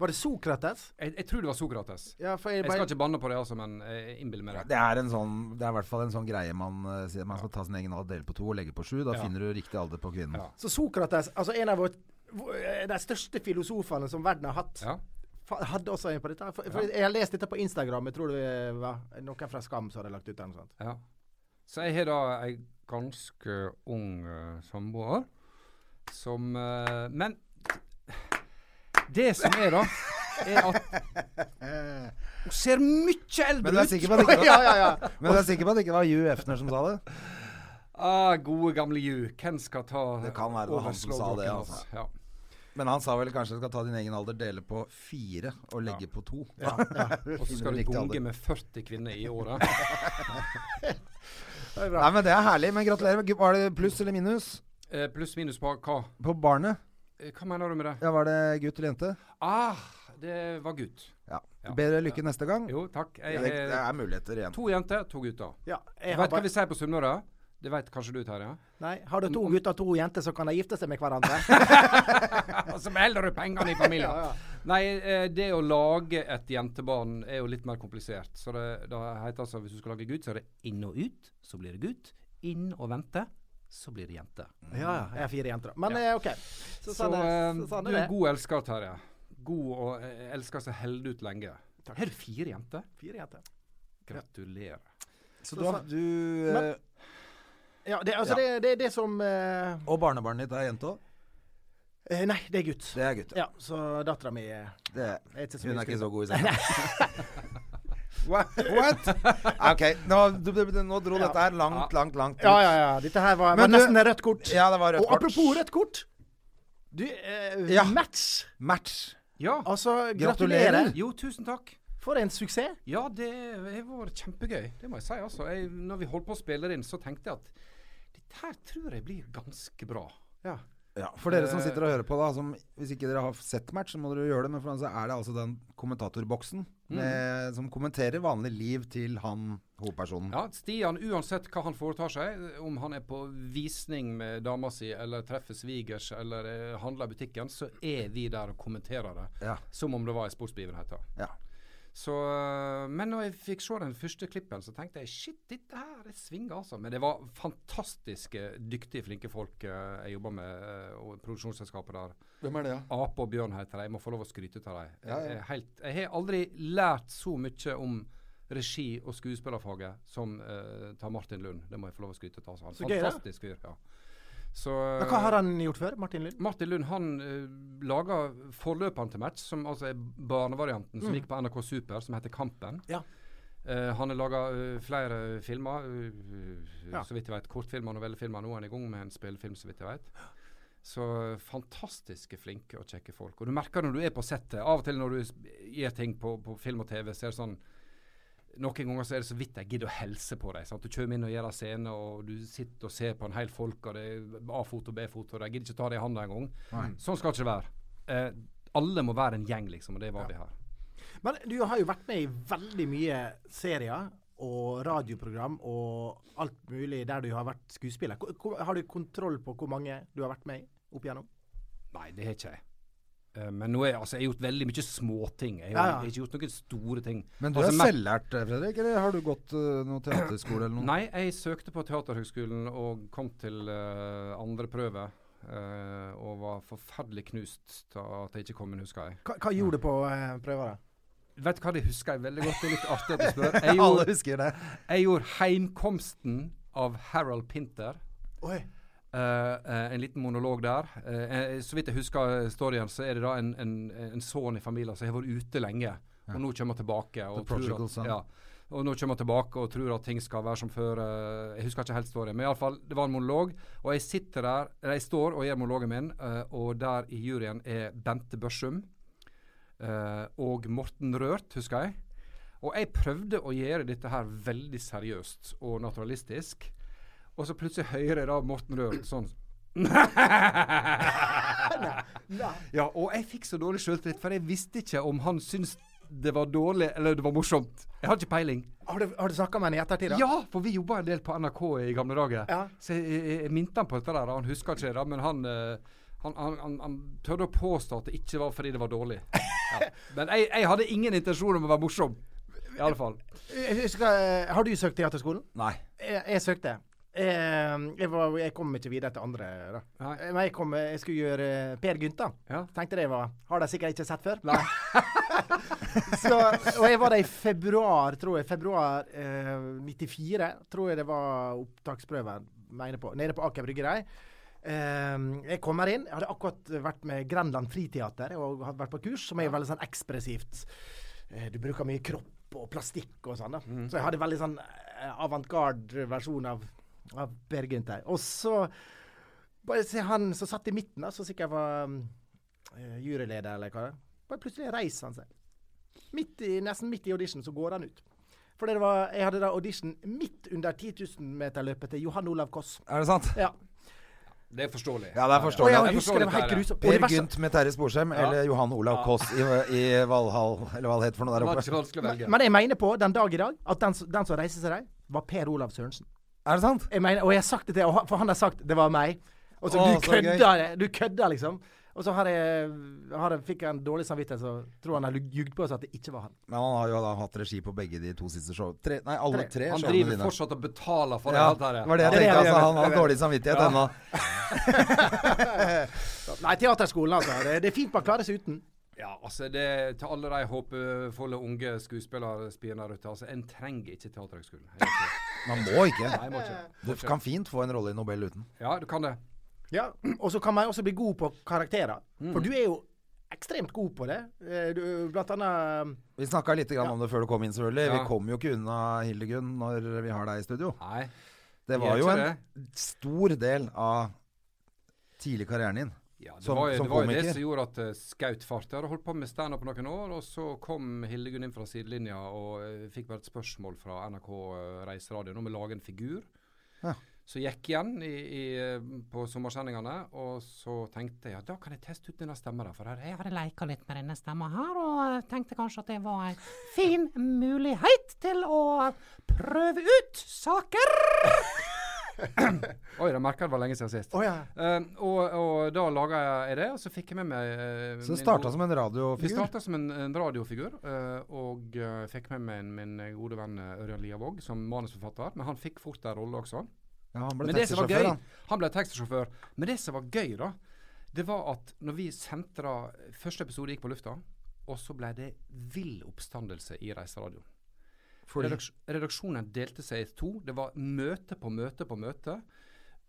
Speaker 2: Var det Sokrates?
Speaker 3: jeg. Jeg tror det var Sokrates.
Speaker 2: Ja, for jeg
Speaker 3: Jeg skal
Speaker 2: bare...
Speaker 3: ikke banne på det, altså, men jeg innbiller meg det.
Speaker 1: Det er, en sånn, det er i hvert fall en sånn greie man eh, sier. Man skal ta sin egen alder, dele på to og legge på sju. Da
Speaker 3: Ja.
Speaker 1: finner du riktig alder på kvinnen.
Speaker 3: Ja.
Speaker 2: Så Sokrates, altså en av vår, vår- eh, de største filosofene som verden har hatt,
Speaker 3: Ja.
Speaker 2: fa- hadde også en på dette. For, for Jeg har lest dette på Instagram, jeg tror det var noen fra Skam som hadde lagt ut det. eller noe sånt.
Speaker 3: Ja. Så jeg har da ei ganske ung eh, samboer som eh, Men det som er, da, er at hun ser mye
Speaker 1: Men du
Speaker 3: eldre
Speaker 1: er
Speaker 3: ut.
Speaker 1: sikker på at det ikke
Speaker 2: Ja,
Speaker 1: var,
Speaker 2: ja, ja.
Speaker 1: men du er sikker på at det ikke var Hugh Hefner som sa det?
Speaker 3: Ah, gode gamle Ju. Hvem skal ta
Speaker 1: Det kan være det var han som
Speaker 3: overslå
Speaker 1: sa det,
Speaker 3: blokken
Speaker 1: altså.
Speaker 3: hans? Ja.
Speaker 1: Men han sa vel kanskje du skal ta din egen alder, dele på fire og legge på to. Ja,
Speaker 3: Og så skal du gunge med 40 kvinner i året.
Speaker 1: Nei, men Det er herlig. Men gratulerer. Var det pluss eller minus
Speaker 3: Eh, Pluss minus på hva?
Speaker 1: på barnet?
Speaker 3: Eh, Hva mener du med det?
Speaker 1: Ja, Var det gutt eller jente?
Speaker 3: Ah, det var gutt.
Speaker 1: Ja.
Speaker 3: Ja.
Speaker 1: Bedre lykke neste gang.
Speaker 3: Jo, takk.
Speaker 1: Det,
Speaker 3: Jeg,
Speaker 1: det
Speaker 3: er
Speaker 1: er muligheter igjen.
Speaker 3: to jenter, to gutter.
Speaker 2: ja jeg
Speaker 3: Vet
Speaker 2: har,
Speaker 3: hva
Speaker 2: bare,
Speaker 3: vi sier på Sunnmøre? Det vet kanskje du, Terje?
Speaker 2: nei, har du to
Speaker 3: Mm.
Speaker 2: gutter og to jenter, så kan de gifte seg med hverandre.
Speaker 3: Og så melder du pengene i familien. Nei, eh, det å lage et jentebarn er jo litt mer komplisert. Så det, det heter altså hvis du skal lage gutt, så er det inn og ut, så blir det gutt. Inn og vente, så blir det jente.
Speaker 2: Ja, ja. Jeg har fire jenter. da. Men eh, OK. Så
Speaker 3: Så,
Speaker 2: sa det,
Speaker 3: eh,
Speaker 2: så sa
Speaker 3: du
Speaker 2: det
Speaker 3: er
Speaker 2: det.
Speaker 3: en god elsker, Terje. God og eh, elsker som holder ut lenge. Har du fire jenter?
Speaker 2: Fire jenter.
Speaker 3: Gratulerer.
Speaker 1: Så du, har- du
Speaker 2: Men-
Speaker 1: eh,
Speaker 2: Ja, det, altså, det det er det som eh,
Speaker 1: Og barnebarnet ditt er jente òg?
Speaker 2: eh, Nei, det er gutt.
Speaker 1: Det er gutt.
Speaker 2: Ja, så dattera mi er
Speaker 1: Det,
Speaker 2: er ikke så
Speaker 1: hun
Speaker 2: mye
Speaker 1: er ikke
Speaker 2: skryt.
Speaker 1: så god i senga. What? What? Ah, Ok, nå, du, du, du, nå dro dette her langt, langt, langt ut.
Speaker 2: Ja, ja, ja. Dette her var, var
Speaker 1: Men du-
Speaker 2: nesten rødt kort.
Speaker 1: Ja, det var rødt
Speaker 2: eh, og
Speaker 1: kort.
Speaker 2: apropos rødt kort. Du, eh,
Speaker 1: Ja.
Speaker 2: match.
Speaker 1: Match.
Speaker 3: Ja.
Speaker 2: Altså,
Speaker 1: Gratulerer.
Speaker 2: gratulerer. Eh.
Speaker 3: Jo, tusen takk.
Speaker 2: For en suksess.
Speaker 3: Ja, det har vært kjempegøy. Det må jeg si, altså. Jeg, når vi holdt på å spille det inn, så tenkte jeg at dette her tror jeg blir ganske bra.
Speaker 2: Ja.
Speaker 1: Ja, for dere som
Speaker 3: Eh.
Speaker 1: sitter og hører på, da, som, hvis ikke dere har sett match, så må dere gjøre det. Men for så er det altså den kommentatorboksen
Speaker 3: Mm.
Speaker 1: med, som kommenterer vanlig liv til han hovedpersonen.
Speaker 3: Ja, Stian, uansett hva han foretar seg, om han er på visning med dama si, eller treffer svigers, eller eh, handler i butikken, så er vi der og kommenterer det.
Speaker 1: Ja.
Speaker 3: Som om det var en sportsbegivenhet. da.
Speaker 1: Ja.
Speaker 3: Så, øh, men når jeg fikk se den første klippen, så tenkte jeg shit, dette her det svinger, altså. Men det var fantastiske, dyktige, flinke folk øh, jeg jobba med, øh, og produksjonsselskapet der.
Speaker 1: Hvem er det,
Speaker 3: Ape og Bjørn heter de. Jeg må få lov å skryte av dem.
Speaker 1: Ja, ja.
Speaker 3: Jeg, er helt- jeg har aldri lært så mye om regi og skuespillerfaget som uh, ta Martin Lund. Det må jeg få lov å skryte av. Han
Speaker 2: Så
Speaker 3: er
Speaker 2: gøy,
Speaker 3: en
Speaker 2: da.
Speaker 3: fantastisk fyr. Ja. Så,
Speaker 2: Men hva har han gjort før, Martin Lund?
Speaker 3: Martin Lund han eh, laga forløperen til match, som altså er barnevarianten som gikk på NRK Super, som heter Kampen.
Speaker 2: Mm. Ja.
Speaker 3: Eh, han har laga flere filmer, eh,
Speaker 2: Ja.
Speaker 3: så vidt jeg vet. Kortfilmer og novellefilmer. Nå er han i gang med en spillefilm, så vidt jeg vet. Så eh, fantastiske flinke og kjekke folk. Og du merker når du er på settet. Av og til når du s- gjør ting på, på film og TV, så er det sånn noen ganger så er det så vidt jeg gidder å helse på deg. Sant? Du kommer inn og gjør en scene, og du sitter og ser på en hel folk, og det er A-foto og B-foto, og de gidder ikke ta det i hånda engang. Sånn skal det ikke være. Eh, alle må være en gjeng, liksom, og det var vi her.
Speaker 2: Men du har jo vært med i veldig mye serier og radioprogram og alt mulig der du har vært skuespiller. Hvor- hvor- Har du kontroll på hvor mange du har vært med i opp igjennom?
Speaker 3: Nei, det har ikke jeg. Eh, men nå er, altså, jeg har gjort veldig mye småting. Jeg, har-
Speaker 2: Ja, ja.
Speaker 3: jeg har ikke gjort noen store ting.
Speaker 1: Men du
Speaker 3: altså,
Speaker 1: er
Speaker 3: Mac-
Speaker 1: selvlært, eh, Fredrik? Eller har du gått uh, noe teaterskole eller noe?
Speaker 3: Nei, jeg søkte på Teaterhøgskolen og kom til eh, andre prøve. eh, og var forferdelig knust av at jeg ikke kom inn, husker jeg.
Speaker 2: Hva, hva gjorde du på eh, prøver? da?
Speaker 3: Vet du hva, det husker jeg veldig godt. Det er litt artig at du spør.
Speaker 1: Alle
Speaker 3: Jeg gjorde,
Speaker 1: husker det.
Speaker 3: Jeg gjorde heimkomsten av Harold Pinter.
Speaker 2: Oi.
Speaker 3: Eh, eh, en liten monolog der. Eh, eh, så vidt jeg husker storyen, så er det da en, en, en sønn i familien som har vært ute lenge, og nå kommer han tilbake. Og tror
Speaker 1: prodigal
Speaker 3: at,
Speaker 1: son.
Speaker 3: ja, og nå kommer han tilbake og tror at ting skal være som før. eh, jeg husker ikke helt storyen, men iallfall, det var en monolog. Og jeg sitter der, eller jeg står og gjør monologen min, eh, og der i juryen er Bente Børsum eh, og Morten Rørt, husker jeg. Og jeg prøvde å gjøre dette her veldig seriøst og naturalistisk. Og så plutselig hører jeg da Morten Rørt sånn Ja, og jeg fikk så dårlig sjøltillit, for jeg visste ikke om han syntes det var dårlig eller det var morsomt. Jeg hadde ikke peiling.
Speaker 2: Har du, har du snakka med henne i ettertid? da?
Speaker 3: Ja, for vi jobba en del på NRK i gamle dager.
Speaker 2: Ja.
Speaker 3: Så jeg, jeg, jeg minte han på dette der, og han husker ikke det, da, men han, eh, han, han, han, han tørde å påstå at det ikke var fordi det var dårlig. Ja. Men jeg, jeg hadde ingen intensjon om å være morsom. I alle fall.
Speaker 2: Jeg husker, eh, har du søkt teaterskolen?
Speaker 1: Nei.
Speaker 2: Jeg, jeg søkte. Eh, Jeg, var, jeg kom ikke videre til andre. da.
Speaker 3: Nei.
Speaker 2: Eh, Men jeg, kom, eh, jeg skulle gjøre eh, Per Gynt, da.
Speaker 3: Ja.
Speaker 2: Tenkte det var Har de sikkert ikke sett før? Nei. så, og jeg var der i februar, tror jeg. Februar eh, 94, tror jeg det var opptaksprøven. Mener på, nede på Aker Bryggerei. Ehm, jeg kommer inn. Jeg hadde akkurat vært med Grenland Friteater og hadde vært på kurs, som er veldig sånn ekspressivt. Eh, Du bruker mye kropp og plastikk og sånn. da. Så jeg hadde veldig sånn eh, avantgarde versjon av, av Per Gunther. Og så bare se han som satt i midten, da, som sikkert var mm, eh, juryleder eller hva det er. Bare plutselig reiser han seg. Midt i, nesten midt i audition så går han ut. For det var, jeg hadde da audition midt under 10 000-meterløpet til Johan Olav Koss.
Speaker 1: Er det sant?
Speaker 2: Ja.
Speaker 3: Det er forståelig.
Speaker 1: Ja, det er
Speaker 2: Og
Speaker 1: forståelig.
Speaker 2: jeg
Speaker 3: jeg forstår
Speaker 2: husker det var helt
Speaker 3: dette her, ja.
Speaker 2: grusomt. Og det
Speaker 1: Per
Speaker 2: verste-
Speaker 1: Gynt med Terje Sporsem eller Johan Olav Koss i, i Valhall, eller hva det heter for noe
Speaker 3: Det
Speaker 1: der
Speaker 3: var ikke så
Speaker 1: oppe.
Speaker 3: vanskelig å velge.
Speaker 2: Men jeg mener på den dag i dag at den, s- den som reiser seg der, var Per Olav Sørensen.
Speaker 1: Er det sant?
Speaker 2: Jeg mener, og jeg har sagt det til og han- for han har sagt 'det var meg'. Og så
Speaker 1: Å,
Speaker 2: du
Speaker 1: så gøy.
Speaker 2: kødda, det- du kødda, liksom. Og så har jeg, har jeg, fikk jeg en dårlig samvittighet, så tror han har lug- ljugd på oss at det ikke var han.
Speaker 1: Men han har jo da hatt regi på begge de to siste show. Tre, nei, alle tre
Speaker 3: Han
Speaker 1: showene
Speaker 3: driver
Speaker 1: dine.
Speaker 3: fortsatt og betaler for
Speaker 1: Ja,
Speaker 3: det. alt
Speaker 1: det
Speaker 3: her.
Speaker 1: var det jeg
Speaker 2: Ja, det
Speaker 1: tenkte.
Speaker 2: er det,
Speaker 1: Altså,
Speaker 2: det er
Speaker 1: han har
Speaker 2: det.
Speaker 1: dårlig samvittighet ennå.
Speaker 2: Nei, teaterskolen, altså. Det, det er fint man klarer seg uten.
Speaker 3: Ja, altså det Til alle de håpefulle unge skuespillerspiene der ute. Altså, en trenger ikke Teaterhøgskolen. Jeg vet ikke.
Speaker 1: Man må ikke.
Speaker 3: Nei, må ikke.
Speaker 1: Du kan fint få en rolle i Nobel uten.
Speaker 3: Ja, du kan det.
Speaker 2: Ja, og så kan man også bli god på karakterer. For du er jo ekstremt god på det. Eh, Du, blant annet eh,
Speaker 1: Vi snakka litt grann om det før du kom inn, selvfølgelig.
Speaker 3: Ja.
Speaker 1: Vi kom jo ikke unna Hildegunn når vi har deg i studio.
Speaker 3: Nei.
Speaker 1: Det
Speaker 3: Vi
Speaker 1: var
Speaker 3: gjør
Speaker 1: jo
Speaker 3: ikke
Speaker 1: en
Speaker 3: det.
Speaker 1: stor del av tidlig karrieren din.
Speaker 3: Ja, det
Speaker 1: Som-
Speaker 3: var, jo-
Speaker 1: som
Speaker 3: det var jo det
Speaker 1: komiker.
Speaker 3: som gjorde at uh, skaut fart. Jeg hadde holdt på med standup noen år, og så kom Hildegunn inn fra sidelinja og eh, fikk bare et spørsmål fra NRK eh, Reiseradio om å lage en figur.
Speaker 1: Ja.
Speaker 3: Så gikk igjen i, i, eh, på sommersendingene, og så tenkte jeg at da kan jeg teste ut denne stemmen der. For her, jeg hadde
Speaker 4: leika litt med denne stemma her, og eh, tenkte kanskje at det var en fin mulighet til å prøve ut saker.
Speaker 3: Oi, jeg merka det var lenge siden sist.
Speaker 2: Å ja.
Speaker 3: Eh, og, og da laga jeg det, og så fikk jeg med meg eh,
Speaker 1: Så det
Speaker 3: min
Speaker 1: starta
Speaker 3: gode-
Speaker 1: som en
Speaker 3: Vi
Speaker 1: radiofigur.
Speaker 3: starta som en, en radiofigur, eh, og eh, fikk med meg min min gode venn eh, Ørjan Liavåg som manusforfatter. Men han fikk fort en rolle også.
Speaker 1: Ja, han ble
Speaker 3: Men det som var
Speaker 1: taxisjåfør,
Speaker 3: gøy,
Speaker 1: han.
Speaker 3: han ble taxisjåfør. Men det som var gøy, da, det var at når vi sendte da Første episode gikk på lufta, og så ble det vill oppstandelse i Reiseradioen. Redaks redaksjonen delte seg i to. Det var møte på møte på møte.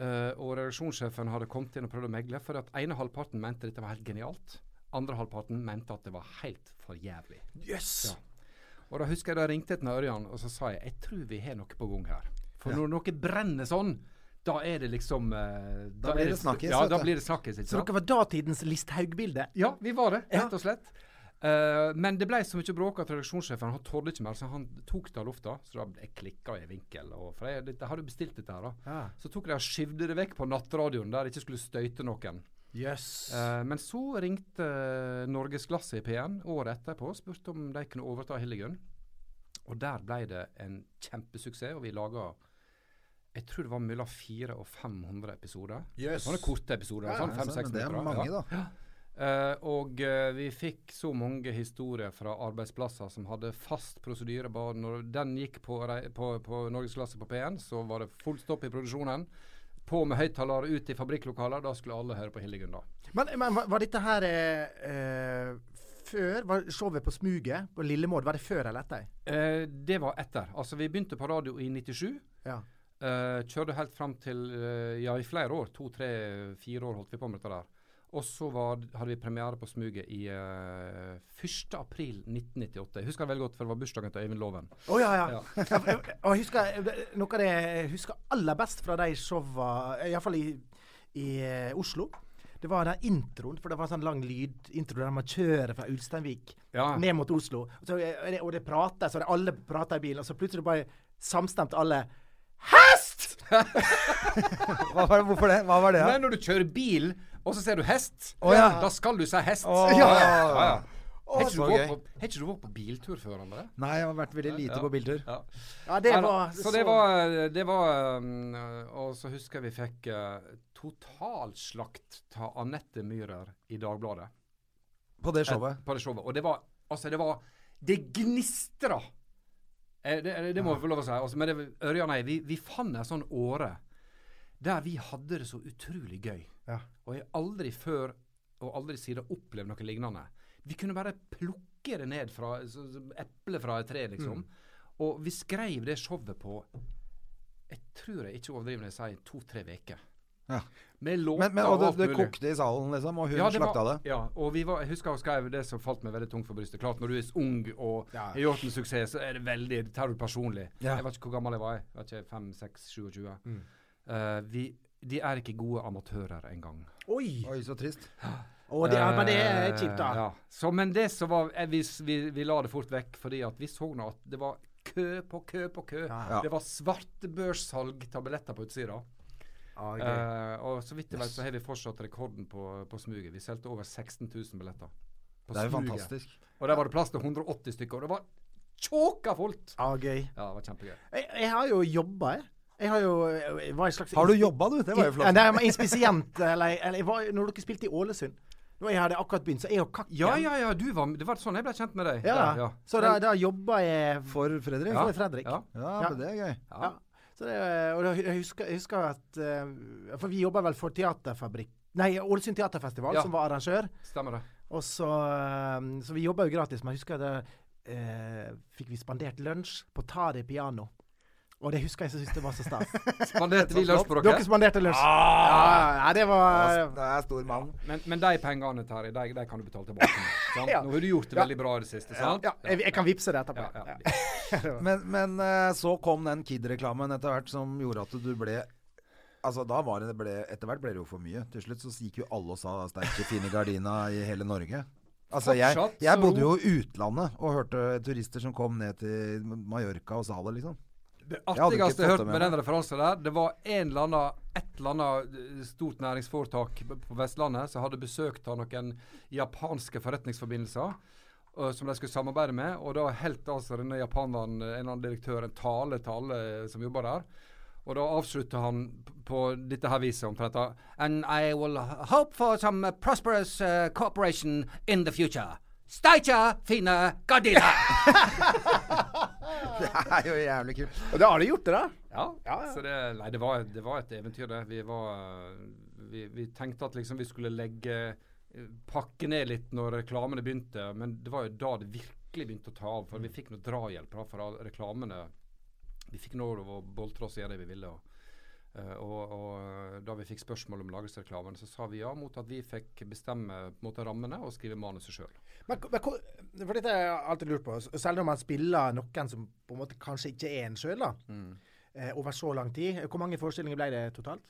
Speaker 3: Eh, og redaksjonssjefen hadde kommet inn og prøvd å megle, for at ene halvparten mente dette var helt genialt. Andre halvparten mente at det var helt for jævlig.
Speaker 2: Jøss!
Speaker 3: Og da husker jeg da ringte jeg til Ørjan og så sa jeg jeg tror vi har noe på gang her. For når noe brenner sånn, da er det liksom eh, Da,
Speaker 1: blir
Speaker 3: er
Speaker 1: det snakkes,
Speaker 3: Ja,
Speaker 1: vet
Speaker 3: da
Speaker 1: du.
Speaker 3: blir det snakkes. Ikke
Speaker 2: Så
Speaker 3: sant?
Speaker 2: dere var datidens Listhaug-bilde?
Speaker 3: Ja, vi var det,
Speaker 2: Ja.
Speaker 3: rett og slett. Eh, men det ble så mye bråk at redaksjonssjefen han tålte ikke mer, så han tok det av lufta. Så da jeg klikka i vinkel. Og, for jeg, jeg hadde bestilt dette her, da.
Speaker 2: Ja.
Speaker 3: Så tok de og skyvde det vekk på nattradioen, der det ikke skulle støyte noen.
Speaker 2: Jøss.
Speaker 3: Eh, men så ringte eh, Norgesglasset i P1 året etterpå og spurte om de kunne overta Hildegunn. Og der ble det en kjempesuksess, og vi laga jeg tror det var mellom 400 og 500 episoder.
Speaker 2: Jøss.
Speaker 3: Sånne korte episoder.
Speaker 2: Ja,
Speaker 3: sånn
Speaker 1: Ja, så-
Speaker 3: 5-6
Speaker 1: men det er
Speaker 3: minutter,
Speaker 1: mange,
Speaker 3: ja.
Speaker 1: da.
Speaker 3: Eh, og eh, vi fikk så mange historier fra arbeidsplasser som hadde fast prosedyre. Bare når den gikk på, rei- på, på norgesklasse på P1, så var det full stopp i produksjonen. På med høyttaler ut i fabrikklokaler. Da skulle alle høre på Hildegunn, da.
Speaker 2: Men, men var var dette her eh, eh, før? Var showet på Smuget på Lillemord, var det før eller etter?
Speaker 3: Eh, det var etter. Altså, vi begynte på radio i 97.
Speaker 2: Ja.
Speaker 3: Eh, kjørte helt fram til eh, Ja, i flere år. To, tre, fire år holdt vi på med dette der. Og så var, hadde vi premiere på Smuget i eh, 1. april 1998. Jeg husker det veldig godt, for det var bursdagen til Øyvind Loven.
Speaker 2: Å ja, ja. Og jeg husker, noe av det jeg husker aller best fra de showa, iallfall i, i eh, Oslo, det var den introen, for det var en sånn lang lydintro der man kjører fra Ulsteinvik
Speaker 3: Ja.
Speaker 2: ned mot Oslo. Og, så, er det- og det prater, så det, alle prater i bilen, og så plutselig bare samstemt alle Hest!
Speaker 1: Hva var det, hvorfor det? Hva var det?
Speaker 3: Nei, når du kjører bil, og så ser du hest, da skal du si hest.
Speaker 1: Åh.
Speaker 3: ja. Har ikke
Speaker 1: så
Speaker 3: du vært
Speaker 1: gøy.
Speaker 3: på- har ikke du vært på biltur før, André?
Speaker 1: Nei, jeg har vært veldig lite på biltur.
Speaker 3: Ja.
Speaker 2: Ja, det
Speaker 3: Nei da,
Speaker 2: var
Speaker 3: så det var, eh, det var um, Og så husker jeg vi fikk eh, totalslakt av Anette Myhrer i Dagbladet.
Speaker 1: På det
Speaker 3: Et-
Speaker 1: showet.
Speaker 3: Eh, På det showet. Og det var Altså, det var Det gnistra! Eh, Det, det, det må vi få lov å si. Altså, men det, Ørjan og jeg, vi, vi fant ei sånn åre der vi hadde det så utrolig gøy.
Speaker 1: Ja.
Speaker 3: Og jeg har aldri før og aldri siden opplevd noe lignende. Vi kunne bare plukke det ned fra så, så, eple fra et tre,
Speaker 1: Mm.
Speaker 3: liksom. Og vi skrev det showet på Jeg tror jeg ikke overdriver når jeg sier to-tre uker.
Speaker 1: Ja.
Speaker 3: Med låter
Speaker 1: Men, men, og det,
Speaker 3: alt
Speaker 1: det
Speaker 3: mulig.
Speaker 1: kokte i salen, liksom, og hun slakta
Speaker 3: var,
Speaker 1: det.
Speaker 3: Ja, og vi var, jeg husker hun skrev det som falt meg veldig tungt for brystet. Klart, når du er så ung og har gjort en suksess, så er det veldig det tar du personlig.
Speaker 1: Ja.
Speaker 3: Jeg vet ikke hvor gammel jeg var. jeg vet ikke, 5, 6, 27.
Speaker 2: Mm.
Speaker 3: Eh, vi, de er ikke gode amatører engang.
Speaker 2: Oi!
Speaker 1: Oi, så trist.
Speaker 2: Og det, ja, men det er kjipt,
Speaker 3: Eh,
Speaker 2: da.
Speaker 3: Ja. Så, men det som var eh, vi, vi, vi la det fort vekk, fordi at vi så nå at det var kø på kø på kø.
Speaker 1: Ja.
Speaker 3: Det var svartbørssalg av billetter på Utsira.
Speaker 2: Ja, gøy.
Speaker 3: Eh, og så vidt jeg vet, så har vi fortsatt rekorden på, på smuget. Vi solgte over 16 000 billetter. På
Speaker 1: Det er jo
Speaker 3: Smuget.
Speaker 1: fantastisk.
Speaker 3: Og der var det plass til 180 stykker. Og det var tjåka fullt!
Speaker 2: Ja, gøy.
Speaker 3: Ja, det var kjempegøy.
Speaker 2: Jeg, jeg har jo jobba, jeg. Jeg har jo eh, jeg var en slags
Speaker 1: Har du jobba, du? Det var jo
Speaker 2: Ja,
Speaker 1: flott.
Speaker 2: nei, men inspisient, eller, eller jeg var, Når dere spilte i Ålesund Når jeg hadde akkurat begynt, så jeg og Kakken
Speaker 3: Ja, ja, ja. Du var, det var sånn jeg ble kjent med deg.
Speaker 2: Ja,
Speaker 3: Der, ja.
Speaker 2: Så da, da jobba jeg for,
Speaker 1: For Fredrik?
Speaker 2: for Fredrik.
Speaker 3: Ja.
Speaker 1: Ja,
Speaker 2: Ja.
Speaker 1: men det er gøy.
Speaker 2: Ja. Så det, og da- jeg husker, jeg husker at eh, For vi jobba vel for Teaterfabrikk Nei, Ålesund Teaterfestival,
Speaker 3: Ja.
Speaker 2: som var arrangør.
Speaker 3: Stemmer det.
Speaker 2: Og så, eh, så vi jobba jo gratis, men jeg husker da eh, fikk vi spandert lunsj på Tari Piano. Og det husker jeg så syntes det var så stas.
Speaker 3: Spanderte vi lunsj på dere?
Speaker 2: Dere spanderte lunsj. Ja, ja, det var
Speaker 1: Altså, Det er stor mann.
Speaker 3: Men, men de pengene, Terje, de, de kan du betale tilbake. nå, Sant?
Speaker 2: Ja.
Speaker 3: Nå har du gjort det
Speaker 2: Ja.
Speaker 3: veldig bra i det siste,
Speaker 2: Ja,
Speaker 3: sant?
Speaker 2: jeg, jeg kan vippse det etterpå.
Speaker 3: Ja, ja.
Speaker 2: Ja.
Speaker 1: Men, men eh, så kom den Kid-reklamen etter hvert som gjorde at du ble Altså da var det ble, Etter hvert ble det jo for mye. Til slutt så gikk jo alle og sa 'sterke, fine gardina' i hele Norge. Altså jeg,
Speaker 3: Fortsatt så-
Speaker 1: jeg bodde jo i utlandet og hørte turister som kom ned til Mallorca og sa det, liksom.
Speaker 3: Det
Speaker 1: hadde ikke
Speaker 3: artigste jeg
Speaker 1: fått
Speaker 3: hørte
Speaker 1: det med
Speaker 3: med den
Speaker 1: meg.
Speaker 3: referansen der, det var en eller annen, et eller annet eh, stort næringsforetak b- på Vestlandet som hadde besøkt av noen japanske forretningsforbindelser eh, som de skulle samarbeide med. Og da holdt altså denne japaneren, eh, en eller annen direktør, en tale til alle eh, som jobber der. Og da avslutta han p- på dette her viset omtrent. da, And I will hope for some eh, prosperous eh, cooperation in the future. Steikja fine gardina!
Speaker 1: Det er jo jævlig kult.
Speaker 2: Og da har du gjort det, da.
Speaker 3: Ja, Så det, nei, det, var, det var et eventyr, det. Vi, var, vi, vi tenkte at liksom vi skulle legge eh, pakke ned litt når reklamene begynte, men det var jo da det virkelig begynte å ta av.
Speaker 1: Mm.
Speaker 3: For vi fikk noe drahjelp da, fra reklamene. Vi fikk nå lov å boltre oss i det vi ville. Og, eh, og, og da vi fikk spørsmål om lagesreklamen, så sa vi ja mot at vi fikk bestemme på en måte, rammene og skrive manuset sjøl.
Speaker 2: Men, men, hvor- for dette har jeg alltid lurt på. s- Selv om man spiller noen som på en måte kanskje ikke er en sjøl, da.
Speaker 3: Mm.
Speaker 2: Eh, over så lang tid. Hvor mange forestillinger ble det totalt?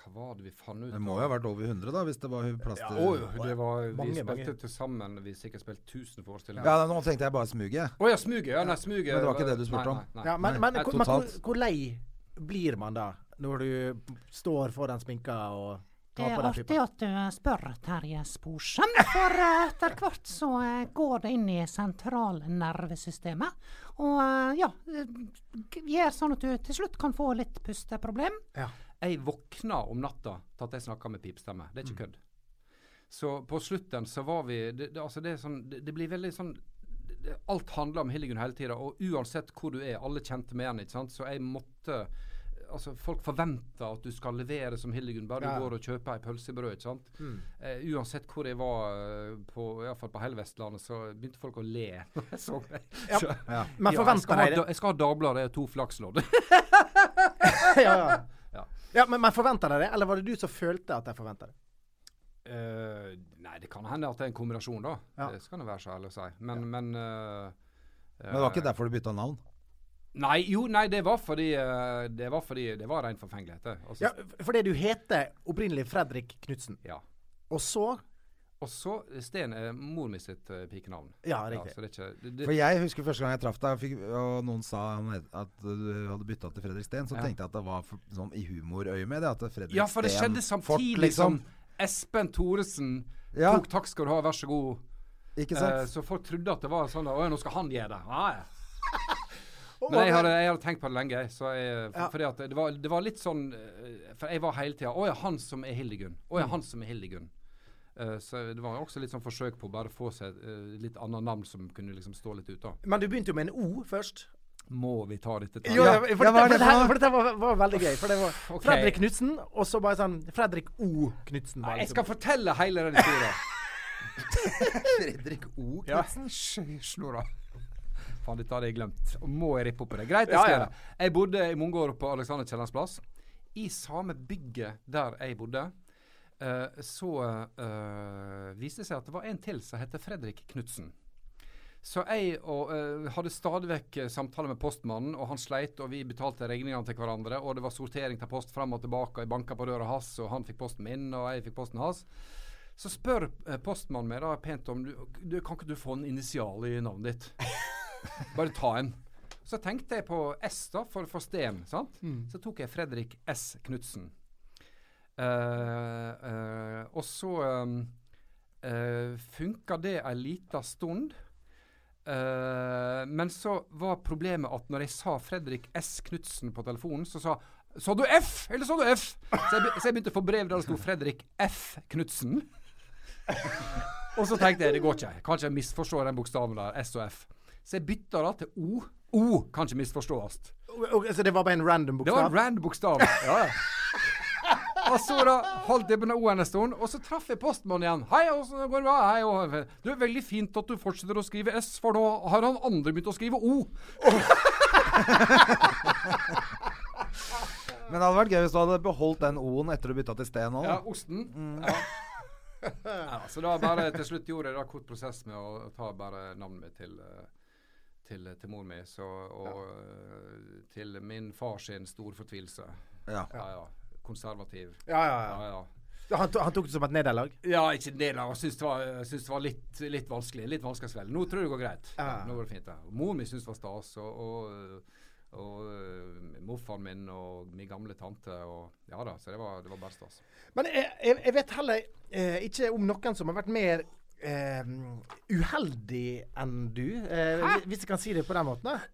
Speaker 3: Hva var det vi fant ut?
Speaker 1: Det må jo ha vært eh, over 100, da, hvis det var plass
Speaker 3: Å,
Speaker 1: til
Speaker 3: jo, det var,
Speaker 2: Mange,
Speaker 3: vi spilte
Speaker 2: mange.
Speaker 3: til sammen Vi sikkert spilte 1000 forestillinger.
Speaker 1: Ja, nå tenkte jeg bare smuget.
Speaker 3: Å ja, smuget. Ja, nei, smuget.
Speaker 1: Men det var ikke det du spurte
Speaker 3: Nei,
Speaker 1: om.
Speaker 3: Nei, nei.
Speaker 2: Ja, men men,
Speaker 3: Nei,
Speaker 2: hvor, men hvor,
Speaker 3: totalt.
Speaker 2: hvor lei blir man da, når du står foran sminka og
Speaker 4: Det
Speaker 2: tar
Speaker 4: er
Speaker 2: på deg
Speaker 4: artig
Speaker 2: pipa?
Speaker 4: at du spør, Terje Sporsem. For eh, etter hvert så eh, går det inn i sentralnervesystemet. Og eh, ja, eh, g- gjør sånn at du til slutt kan få litt pusteproblem.
Speaker 3: Jeg våkna om natta til at jeg snakka med pipstemme. Det er
Speaker 1: Mm.
Speaker 3: ikke kødd. Så på slutten så var vi Det, det, altså det, er sånn, det, det blir veldig sånn det- det, Alt handler om Hildegunn hele tida, og uansett hvor du er, alle kjente med henne, ikke sant. Så jeg måtte altså, Folk forventer at du skal levere som Hildegunn, bare
Speaker 2: Ja.
Speaker 3: du går og kjøper ei pølse i brød. ikke sant?
Speaker 1: Mm.
Speaker 3: Eh, uansett hvor jeg var, eh, på, iallfall på hele Vestlandet, så begynte folk å le. når jeg så meg. Så,
Speaker 1: Ja.
Speaker 2: Men
Speaker 3: ja, jeg,
Speaker 2: forventer
Speaker 3: skal ha,
Speaker 2: de
Speaker 3: da-
Speaker 2: det?
Speaker 3: jeg skal ha Dagbladet og to flakslodd.
Speaker 2: ja, ja.
Speaker 3: Ja.
Speaker 2: ja, men, men forventer de det? Eller var det du som følte at de forventa det?
Speaker 3: Eh, nei, det kan hende at det er en kombinasjon, da.
Speaker 2: Ja.
Speaker 3: Det skal en være så ærlig å si. Men, men eh,
Speaker 1: Men det var ikke derfor du bytta navn?
Speaker 3: Nei, jo, nei, det var fordi eh, Det var fordi det var ren forfengelighet. det. Altså,
Speaker 2: Ja, fordi du heter opprinnelig Fredrik Knutsen.
Speaker 3: ja.
Speaker 2: Og så
Speaker 3: Og så Sten er mor mi sitt eh, pikenavn.
Speaker 2: Ja, riktig.
Speaker 3: så det er ikke, det,
Speaker 1: For
Speaker 3: det,
Speaker 1: jeg husker første gang jeg traff deg, og fikk- og noen sa han het- at du hadde bytta til Fredrik Steen, så
Speaker 3: Ja.
Speaker 1: tenkte jeg at det var for, sånn i humorøyemed. At Fredrik
Speaker 3: ja, for det
Speaker 1: Steen
Speaker 3: skjedde
Speaker 1: Fort,
Speaker 3: samtidig
Speaker 1: liksom.
Speaker 3: som Espen Thoresen
Speaker 1: Ja.
Speaker 3: tok 'takk skal du ha, vær så god'.
Speaker 1: Ikke
Speaker 3: Eh,
Speaker 1: sant?
Speaker 3: så folk trodde at det var sånn Å ja, nå skal han gjøre det. Nei. Men jeg eh, hadde, jeg hadde tenkt på det lenge. Så jeg, for,
Speaker 2: Ja.
Speaker 3: fordi at det, var, det var litt sånn eh, For jeg var hele tida Å ja, han som er Hildegunn. Å ja,
Speaker 2: Mm.
Speaker 3: han som er Hildegunn. Eh, så det var også litt sånn forsøk på å bare få seg et eh, litt annet navn som kunne liksom stå litt ut, da.
Speaker 2: Men du begynte jo med en O først.
Speaker 3: Må vi ta dette? til-
Speaker 2: Jo,
Speaker 1: Ja,
Speaker 2: ja, for,
Speaker 1: ja, hva er
Speaker 2: dette-
Speaker 1: det for noe?
Speaker 2: for, dette- for dette var, var veldig gøy. For det var
Speaker 3: Ok.
Speaker 2: Fredrik liksom. Knutsen, og så bare sånn Fredrik O. Knutsen.
Speaker 3: Nei, jeg skal fortelle hele den historien.
Speaker 1: Fredrik O.
Speaker 3: Ja. Snora. Faen, dette hadde jeg glemt. Og Må jeg rippe opp på det? Greit, jeg
Speaker 2: Ja,
Speaker 3: skal
Speaker 2: ja.
Speaker 3: gjøre det. Jeg bodde i mange år på Alexander Kiellands plass. I samme bygget der jeg bodde, eh, så eh, viste det seg at det var en til som het Fredrik Knutsen. Så jeg og, eh, hadde stadig vekk eh, samtaler med postmannen, og han sleit, og vi betalte regningene til hverandre, og det var sortering av post fram og tilbake, og jeg banka på døra hans, og han fikk posten min, og jeg fikk posten hans. Så spør eh, postmannen meg da pent om du, du Kan ikke du få en initial i navnet ditt? Bare ta en. Så tenkte jeg på S da, for, for Sten. sant? Så tok jeg Fredrik S. Knutsen. Eh, eh, og så eh, eh, funka det ei lita stund. Eh, men så var problemet at når jeg sa Fredrik S. Knutsen på telefonen, så sa Sa du F, eller sa du F? Så jeg, be- så jeg begynte å få brev der det sto Fredrik F. Knutsen. Og så tenkte jeg det går ikke. Kanskje jeg misforstår den bokstaven der. S og F. Så jeg bytta da til O. O kan ikke misforstås.
Speaker 2: så det var bare en random
Speaker 3: Det var
Speaker 2: bokstav?
Speaker 3: en rand bokstav. Og så da holdt jeg på den O-en en stund, og så traff jeg postmannen igjen. 'Hei, åssen går det bra?' Hei, og, det er veldig fint at du fortsetter å skrive S, for nå har han andre begynt å skrive O.
Speaker 1: Men det hadde vært gøy hvis du hadde beholdt den O-en etter du bytta til Steen òg.
Speaker 3: Ja, Mm. osten. Ja. Ja, så da bare til slutt gjorde jeg da kort prosess med å ta bare navnet mitt til eh, til, til mor mi, så, og eh, til min far sin stor fortvilelse.
Speaker 1: Ja.
Speaker 3: Ja, ja. Konservativ.
Speaker 2: Ja, ja, ja.
Speaker 3: Ja, ja.
Speaker 2: Han, to, han tok det som et nederlag?
Speaker 3: ja ikke det da. Jeg Syns det var, jeg syns det var litt, litt vanskelig. Litt vanskelig å svelge. Nå tror jeg det går greit.
Speaker 2: Ja.
Speaker 3: Nå går det fint. Ja. Mor mi syns det var stas, og, og, og eh, morfaren min og min gamle tante og Ja da, så det var, det var bare stas.
Speaker 2: Men jeg, jeg, jeg vet heller eh, ikke om noen som har vært mer eh, uheldig enn du. Eh, hvi- hvis jeg kan si det på den måten. da.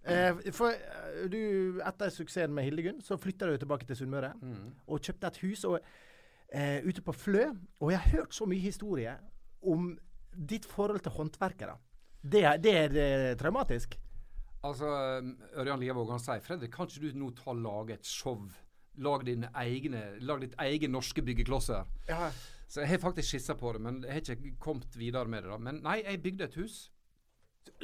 Speaker 2: Eh, for eh, du, etter suksessen med Hildegunn, så flytta du tilbake til Sunnmøre
Speaker 3: Mm.
Speaker 2: og kjøpte et hus og, eh, ute på Flø. Og jeg har hørt så mye historie om ditt forhold til håndverkere. Det, er- det er eh, traumatisk.
Speaker 3: Altså, um, Ørjan Lievåg han sier Fredrik, kan ikke du nå ta og lage et show? Lag, dine egne, lag ditt eget norske byggeklosser.
Speaker 2: Ja.
Speaker 3: Så jeg har faktisk skissa på det, men jeg har ikke kommet videre med det. da. Men nei, jeg bygde et hus.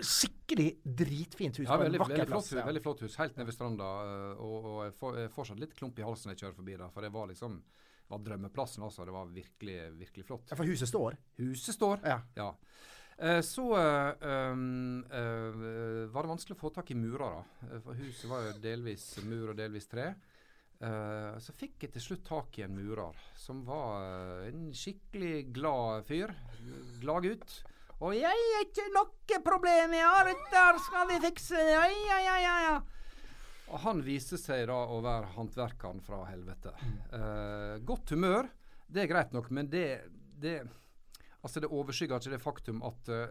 Speaker 2: Skikkelig dritfint hus.
Speaker 3: Ja,
Speaker 2: på en
Speaker 3: veldig,
Speaker 2: vakker
Speaker 3: veldig, flott,
Speaker 2: plass,
Speaker 3: hus,
Speaker 2: ja.
Speaker 3: veldig flott hus, helt nede ved stranda. øh, Og, og jeg får jeg er fortsatt litt klump i halsen når jeg kjører forbi der, for det var liksom det var drømmeplassen. altså. Det var virkelig, virkelig flott.
Speaker 2: Ja, For huset står.
Speaker 3: Huset står.
Speaker 2: Ja.
Speaker 3: Ja. Eh, Så eh, um, eh, var det vanskelig å få tak i murer, da. Eh, For huset var jo delvis mur og delvis tre. Eh, så fikk jeg til slutt tak i en murer som var eh, en skikkelig glad fyr. Gladgutt. Og 'jeg er ikke noe problem, jeg har det der, skal vi fikse det', ja, ja, ja, ja, ja. Og han viste seg da å være håndverkeren fra helvete. Eh, godt humør, det er greit nok, men det, det Altså, det overskygger ikke det faktum at eh,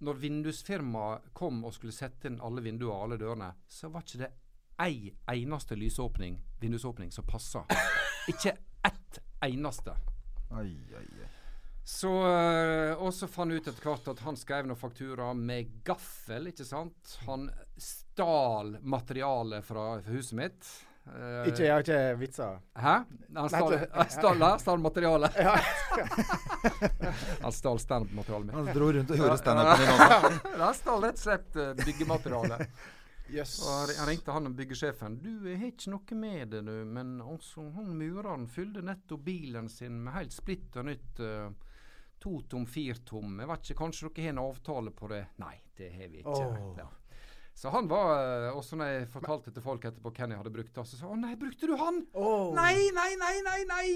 Speaker 3: når vindusfirmaet kom og skulle sette inn alle vinduer og alle dørene, så var ikke det ei eneste lysåpning, vindusåpning som passa. Ikke ett eneste.
Speaker 1: Oi, oi, oi.
Speaker 3: Så, øh, og så fant jeg ut etter hvert at han skrev noen fakturaer med gaffel, ikke sant? Han stal materiale fra huset mitt. Eh,
Speaker 2: Ikke, jeg har ikke vitser.
Speaker 3: Hæ? Han stjal-
Speaker 2: Nei,
Speaker 3: han stjal han stjal materialet.
Speaker 2: Ja.
Speaker 3: Han stjal standup-materialet mitt.
Speaker 1: Han dro rundt og gjorde standupen din også.
Speaker 3: Han stjal rett og slett eh, byggematerialet.
Speaker 2: Jøss.
Speaker 3: Og han- han ringte han og byggesjefen. 'Du, jeg har ikke noe med det, du, men altså, han mureren fylte nettopp bilen sin med helt splitter nytt eh, totom, firtom. Jeg vet ikke, kanskje dere har en avtale på det?' Nei, det har vi ikke.
Speaker 2: Åh.
Speaker 3: Ja. Så han var eh, Også når jeg fortalte til folk etterpå hvem jeg hadde brukt, da, så sa han 'Å nei, brukte du han?'
Speaker 2: Åh.
Speaker 3: Nei, nei, nei, nei! nei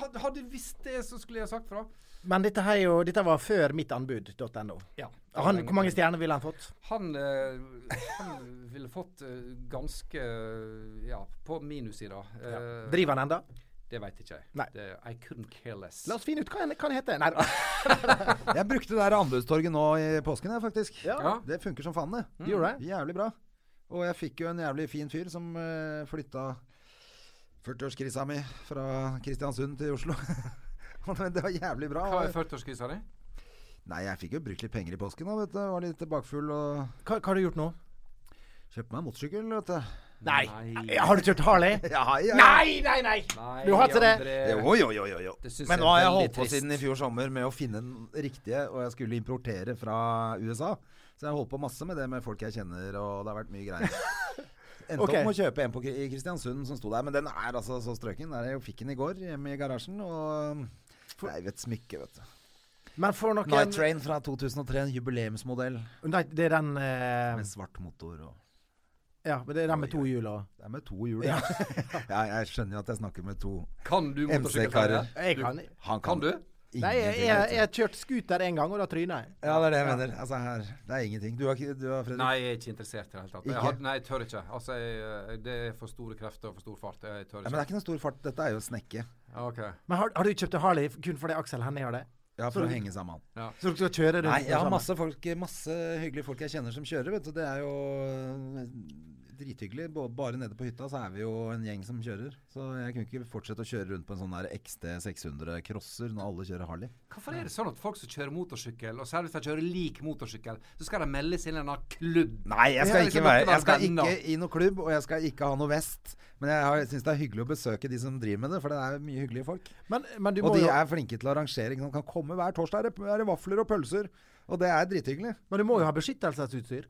Speaker 3: Had, Hadde jeg visst det, så skulle jeg ha sagt fra.
Speaker 2: Men dette, her er jo, dette var før mittanbud.no.
Speaker 3: Ja.
Speaker 2: Han- Hvor mange stjerner ville han fått?
Speaker 3: Han, eh, han ville fått eh, ganske eh, Ja, på minussida. Eh,
Speaker 2: Driver han enda?
Speaker 3: Det veit ikke jeg.
Speaker 2: Nei.
Speaker 3: Det, I couldn't care less.
Speaker 2: La oss finne ut hva han, hva han heter. Nei da.
Speaker 1: Jeg brukte det der anbudstorget nå i påsken, jeg, faktisk.
Speaker 3: Ja. Mm.
Speaker 1: Det funker som faen, det.
Speaker 2: Gjorde det?
Speaker 1: Jævlig bra. Og jeg fikk jo en jævlig fin fyr som eh, flytta 40-årskrisa mi fra Kristiansund til Oslo. Men det var jævlig bra.
Speaker 3: Hva
Speaker 1: Og-
Speaker 3: er 40-årskrisa di?
Speaker 1: Nei, jeg fikk jo brukt litt penger i påsken. da, vet du. Jeg Var litt bakfull og
Speaker 2: Hva, hva har du gjort nå?
Speaker 1: kjøpte meg motorsykkel, vet du.
Speaker 2: Nei.
Speaker 3: Nei.
Speaker 2: Har du kjørt Harley?
Speaker 1: Ja, ja.
Speaker 2: Nei, nei, nei!
Speaker 3: Nei,
Speaker 2: Du har ikke det.
Speaker 3: André,
Speaker 1: Jo, jo, jo, jo, jo.
Speaker 3: Det syns
Speaker 1: Men
Speaker 3: jeg
Speaker 1: nå har
Speaker 3: er
Speaker 1: jeg
Speaker 3: veldig
Speaker 1: holdt på
Speaker 3: trist.
Speaker 1: siden i fjor sommer med å finne den riktige, og jeg skulle importere fra USA. Så jeg har holdt på masse med det med folk jeg kjenner, og det har vært mye greier. Endte
Speaker 2: Ok.
Speaker 1: opp med å kjøpe en på, Kri- i Kristiansund som sto der, men den er altså så strøken. Der jeg fikk den i går hjemme i garasjen, og Nei, et smykke, vet du.
Speaker 2: Men for noen
Speaker 1: Night Train fra 2003, en jubileumsmodell
Speaker 2: Nei, det er den eh,
Speaker 1: med svart motor og
Speaker 2: Ja, men det er den med to hjul og
Speaker 1: Det er med to hjul, ja. ja. Jeg skjønner jo at jeg snakker med to
Speaker 3: Kan du motorsykkelferie?
Speaker 1: MC-karer.
Speaker 2: Jeg kan
Speaker 1: Han
Speaker 3: Kan du?
Speaker 2: Nei, jeg,
Speaker 1: ingenting,
Speaker 2: jeg,
Speaker 1: vet du.
Speaker 2: jeg har kjørt scooter én gang, og da tryna jeg.
Speaker 1: Ja, det er det jeg mener. Altså, her, det er ingenting. Du har, ikke- du har Fredrik?
Speaker 3: Nei, jeg er ikke interessert i det hele tatt.
Speaker 1: Ikke?
Speaker 3: Jeg hadde, nei, jeg tør ikke. Altså, jeg, eh, det er for store krefter og for stor fart. Jeg tør
Speaker 1: Ja, men det er
Speaker 3: ikke.
Speaker 1: ikke noe stor fart. Dette er jo snekke.
Speaker 3: Ok.
Speaker 2: Men har, har du kjøpt en Harley kun fordi Aksel Hennie har det?
Speaker 1: Ja, for å henge sammen.
Speaker 2: Så du skal kjøre rundt? sånn.
Speaker 1: Nei, jeg har
Speaker 2: sammen?
Speaker 1: masse, folk, masse hyggelige folk jeg kjenner som kjører, vet du. Det er jo eh, drithyggelig. Bå- Bare nede på hytta så er vi jo en gjeng som kjører. Så jeg kunne ikke fortsette å kjøre rundt på en sånn der XT 600 crosser når alle kjører Harley.
Speaker 3: Hvorfor er det sånn at folk som kjører motorsykkel, og særlig hvis de kjører lik motorsykkel, så skal de meldes inn i en eller annen klubb?
Speaker 1: Nei, jeg skal,
Speaker 3: Ja,
Speaker 1: ikke
Speaker 3: liksom,
Speaker 1: være,
Speaker 3: dere
Speaker 1: jeg skal
Speaker 3: venner.
Speaker 1: ikke i noe klubb, og jeg skal ikke ha noe vest. Men jeg syns det er hyggelig å besøke de som driver med det, for det er mye hyggelige folk.
Speaker 2: Men, men du
Speaker 1: Og
Speaker 2: må
Speaker 1: de
Speaker 2: jo
Speaker 1: er flinke til å arrangere. ikke sant? Kan komme hver torsdag er det, er det vafler og pølser. Og det er drithyggelig.
Speaker 2: Men du må jo ha beskyttelsesutstyr.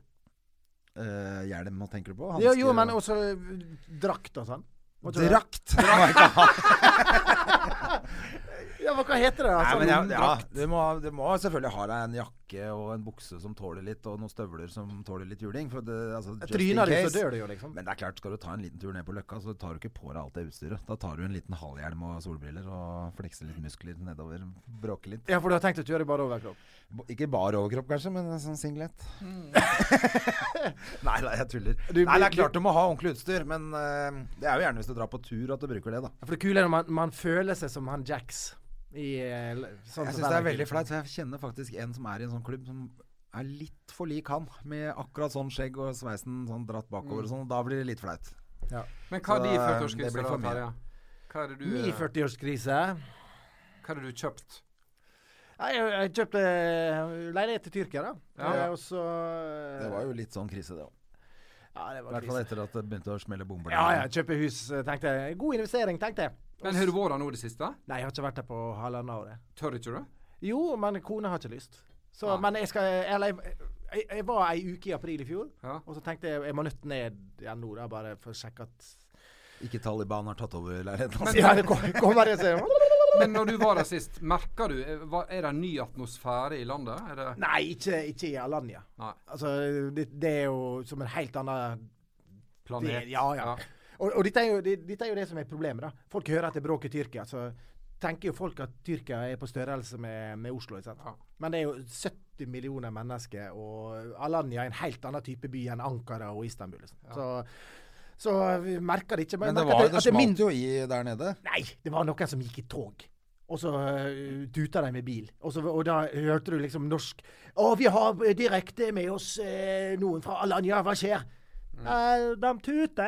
Speaker 1: Eh, hjelm, hva tenker du på?
Speaker 2: Jo,
Speaker 1: Hansker
Speaker 2: jo, men
Speaker 1: og-
Speaker 2: også drakt og sånn. Må ikke du-
Speaker 1: Drakt! må jeg ikke ha.
Speaker 2: Ja, men hva heter det?
Speaker 1: Nei,
Speaker 2: Altså,
Speaker 1: men jeg, ja,
Speaker 2: drakt?
Speaker 1: du, må, du må selvfølgelig ha deg en jakke og en bukse som tåler litt, og noen støvler som tåler litt juling. For det, altså, just in
Speaker 2: Tryner du, så
Speaker 1: case.
Speaker 2: dør du jo, liksom.
Speaker 1: Men det er klart, skal du ta en liten tur ned på Løkka, så tar du ikke på deg alt det utstyret. Da tar du en liten halvhjelm og solbriller og flekser litt muskler nedover. Bråker litt.
Speaker 2: Ja, for du har tenkt å kjøre i bare overkropp?
Speaker 1: B- Ikke bar overkropp, kanskje, men en sånn singlet. nei da, jeg tuller.
Speaker 2: Mm. Du-
Speaker 1: nei, det er klart du må ha ordentlig utstyr, men eh, det er jo gjerne hvis du drar på tur at du bruker det, da.
Speaker 2: Ja, For det kule er når man, man føler seg som han Jax. I, eh, l- sånn
Speaker 1: Jeg
Speaker 2: som
Speaker 1: syns det er
Speaker 2: verden
Speaker 1: veldig flaut, for jeg kjenner faktisk en som er i en sånn klubb som er litt for lik han, med akkurat sånn skjegg og sveisen sånn dratt bakover
Speaker 2: Mm.
Speaker 1: og sånn. Da blir det litt flaut.
Speaker 3: Men hva er de
Speaker 1: Så, eh, det
Speaker 3: 40-årskrisa
Speaker 1: blir
Speaker 3: da,
Speaker 1: for mye.
Speaker 3: Terje? Hva er det du,
Speaker 2: Min
Speaker 3: eh,
Speaker 2: 40-årskrise.
Speaker 3: hva er det du kjøpt?
Speaker 2: Nei, Jeg, jeg kjøpte eh, leilighet til Tyrkia, da.
Speaker 3: Ja.
Speaker 2: Eh, Og så eh,
Speaker 1: Det var jo litt sånn krise, det òg.
Speaker 2: Ja,
Speaker 1: I
Speaker 2: det var
Speaker 1: hvert fall
Speaker 2: krise.
Speaker 1: etter at det begynte å smelle bomber.
Speaker 2: Ja, ja, kjøpe hus, eh, tenkte jeg. God investering, tenkte jeg.
Speaker 3: Men har du vært der nå i det siste?
Speaker 2: Nei, jeg har ikke vært der på halvannet året.
Speaker 3: Tør ikke du?
Speaker 2: Jo, men kona har ikke lyst. Så,
Speaker 3: Nei.
Speaker 2: men jeg skal Eller jeg, jeg, jeg var ei uke i april i fjor,
Speaker 3: Ja.
Speaker 2: og så tenkte jeg jeg må nødt ned igjen nå, da, bare for å sjekke at
Speaker 1: Ikke Taliban har tatt over leiligheten hans.
Speaker 2: Ja, det kom- kommer det, så
Speaker 3: Men når du var der sist, merka du eh, hva- Er det en ny atmosfære i landet? Er det
Speaker 2: Nei, ikke, ikke i Alanya.
Speaker 3: Nei.
Speaker 2: Altså, det, det er jo som en helt annen
Speaker 3: planet?
Speaker 2: Det- ja, ja. Og, og dette, er jo, det, dette er jo det som er problemet, da. Folk hører at det er bråk i Tyrkia, så tenker jo folk at Tyrkia er på størrelse med, med Oslo. Ikke sant?
Speaker 3: Ja.
Speaker 2: Men det er jo 70 millioner mennesker, og Alanya er en helt annen type by enn Ankara og Istanbul. Liksom. Så, så vi merker det ikke.
Speaker 1: Men det,
Speaker 2: merker
Speaker 1: var,
Speaker 2: at
Speaker 1: det
Speaker 2: at er min-
Speaker 1: smalt jo i der nede.
Speaker 2: Nei, det var noen som gikk i tog. Og så uh, tuta de med bil. Og, så, og da hørte du liksom norsk Å, vi har eh, direkte med oss eh, noen fra Alanya, hva skjer?
Speaker 1: Mm.
Speaker 2: «Eh, de tuter.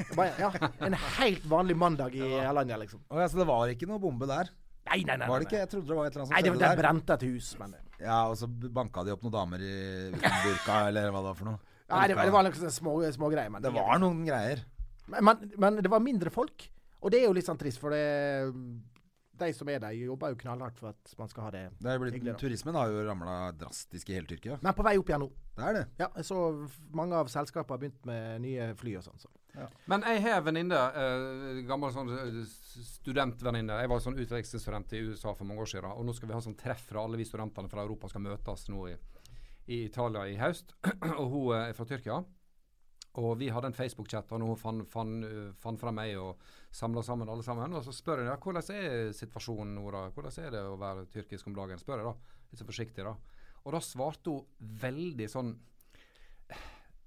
Speaker 2: Jeg Bare, ja, en helt vanlig mandag i Alanya, liksom.
Speaker 1: Å, ja, så det var ikke noe bombe der?
Speaker 2: Nei, nei, nei.
Speaker 1: Var det
Speaker 2: nei,
Speaker 1: ikke? Jeg trodde det var et eller
Speaker 2: Nei,
Speaker 1: annet
Speaker 2: det,
Speaker 1: som
Speaker 2: det
Speaker 1: skjedde der.
Speaker 2: brente et hus, men
Speaker 1: Ja, og så banka de opp noen damer i uten burka, eller hva det var for noe.
Speaker 2: Nei, det, var- det var liksom små- smågreier. Små
Speaker 1: Det var noen greier.
Speaker 2: Men, men, men det var mindre folk, og det er jo litt sånn trist, for det, de som er der, jobber jo knallhardt for at man skal ha det.
Speaker 1: Det er jo blitt,
Speaker 2: Hyggelig, da.
Speaker 1: turismen har jo ramla drastisk i hele Tyrkia.
Speaker 2: Men på vei opp igjen nå.
Speaker 1: Det er det.
Speaker 2: Ja, jeg så f- mange av selskapene har begynt med nye fly og sånn. Så.
Speaker 3: Men jeg har en venninne, eh, gammel sånn eh, studentvenninne. Jeg var sånn utvekslingsstudent i USA for mange år siden. Og nå skal vi ha sånn treff fra alle vi studentene fra Europa skal møtes nå i, i Italia i høst. og hun eh, er fra Tyrkia. Og vi hadde en Facebook-chat, og hun fant fan, fan fra meg og samla sammen alle sammen. Og så spør jeg ja, hvordan er situasjonen nå, da? Hvordan er det å være tyrkisk om dagen? Spør jeg da, litt så forsiktig, da. Og da svarte hun veldig sånn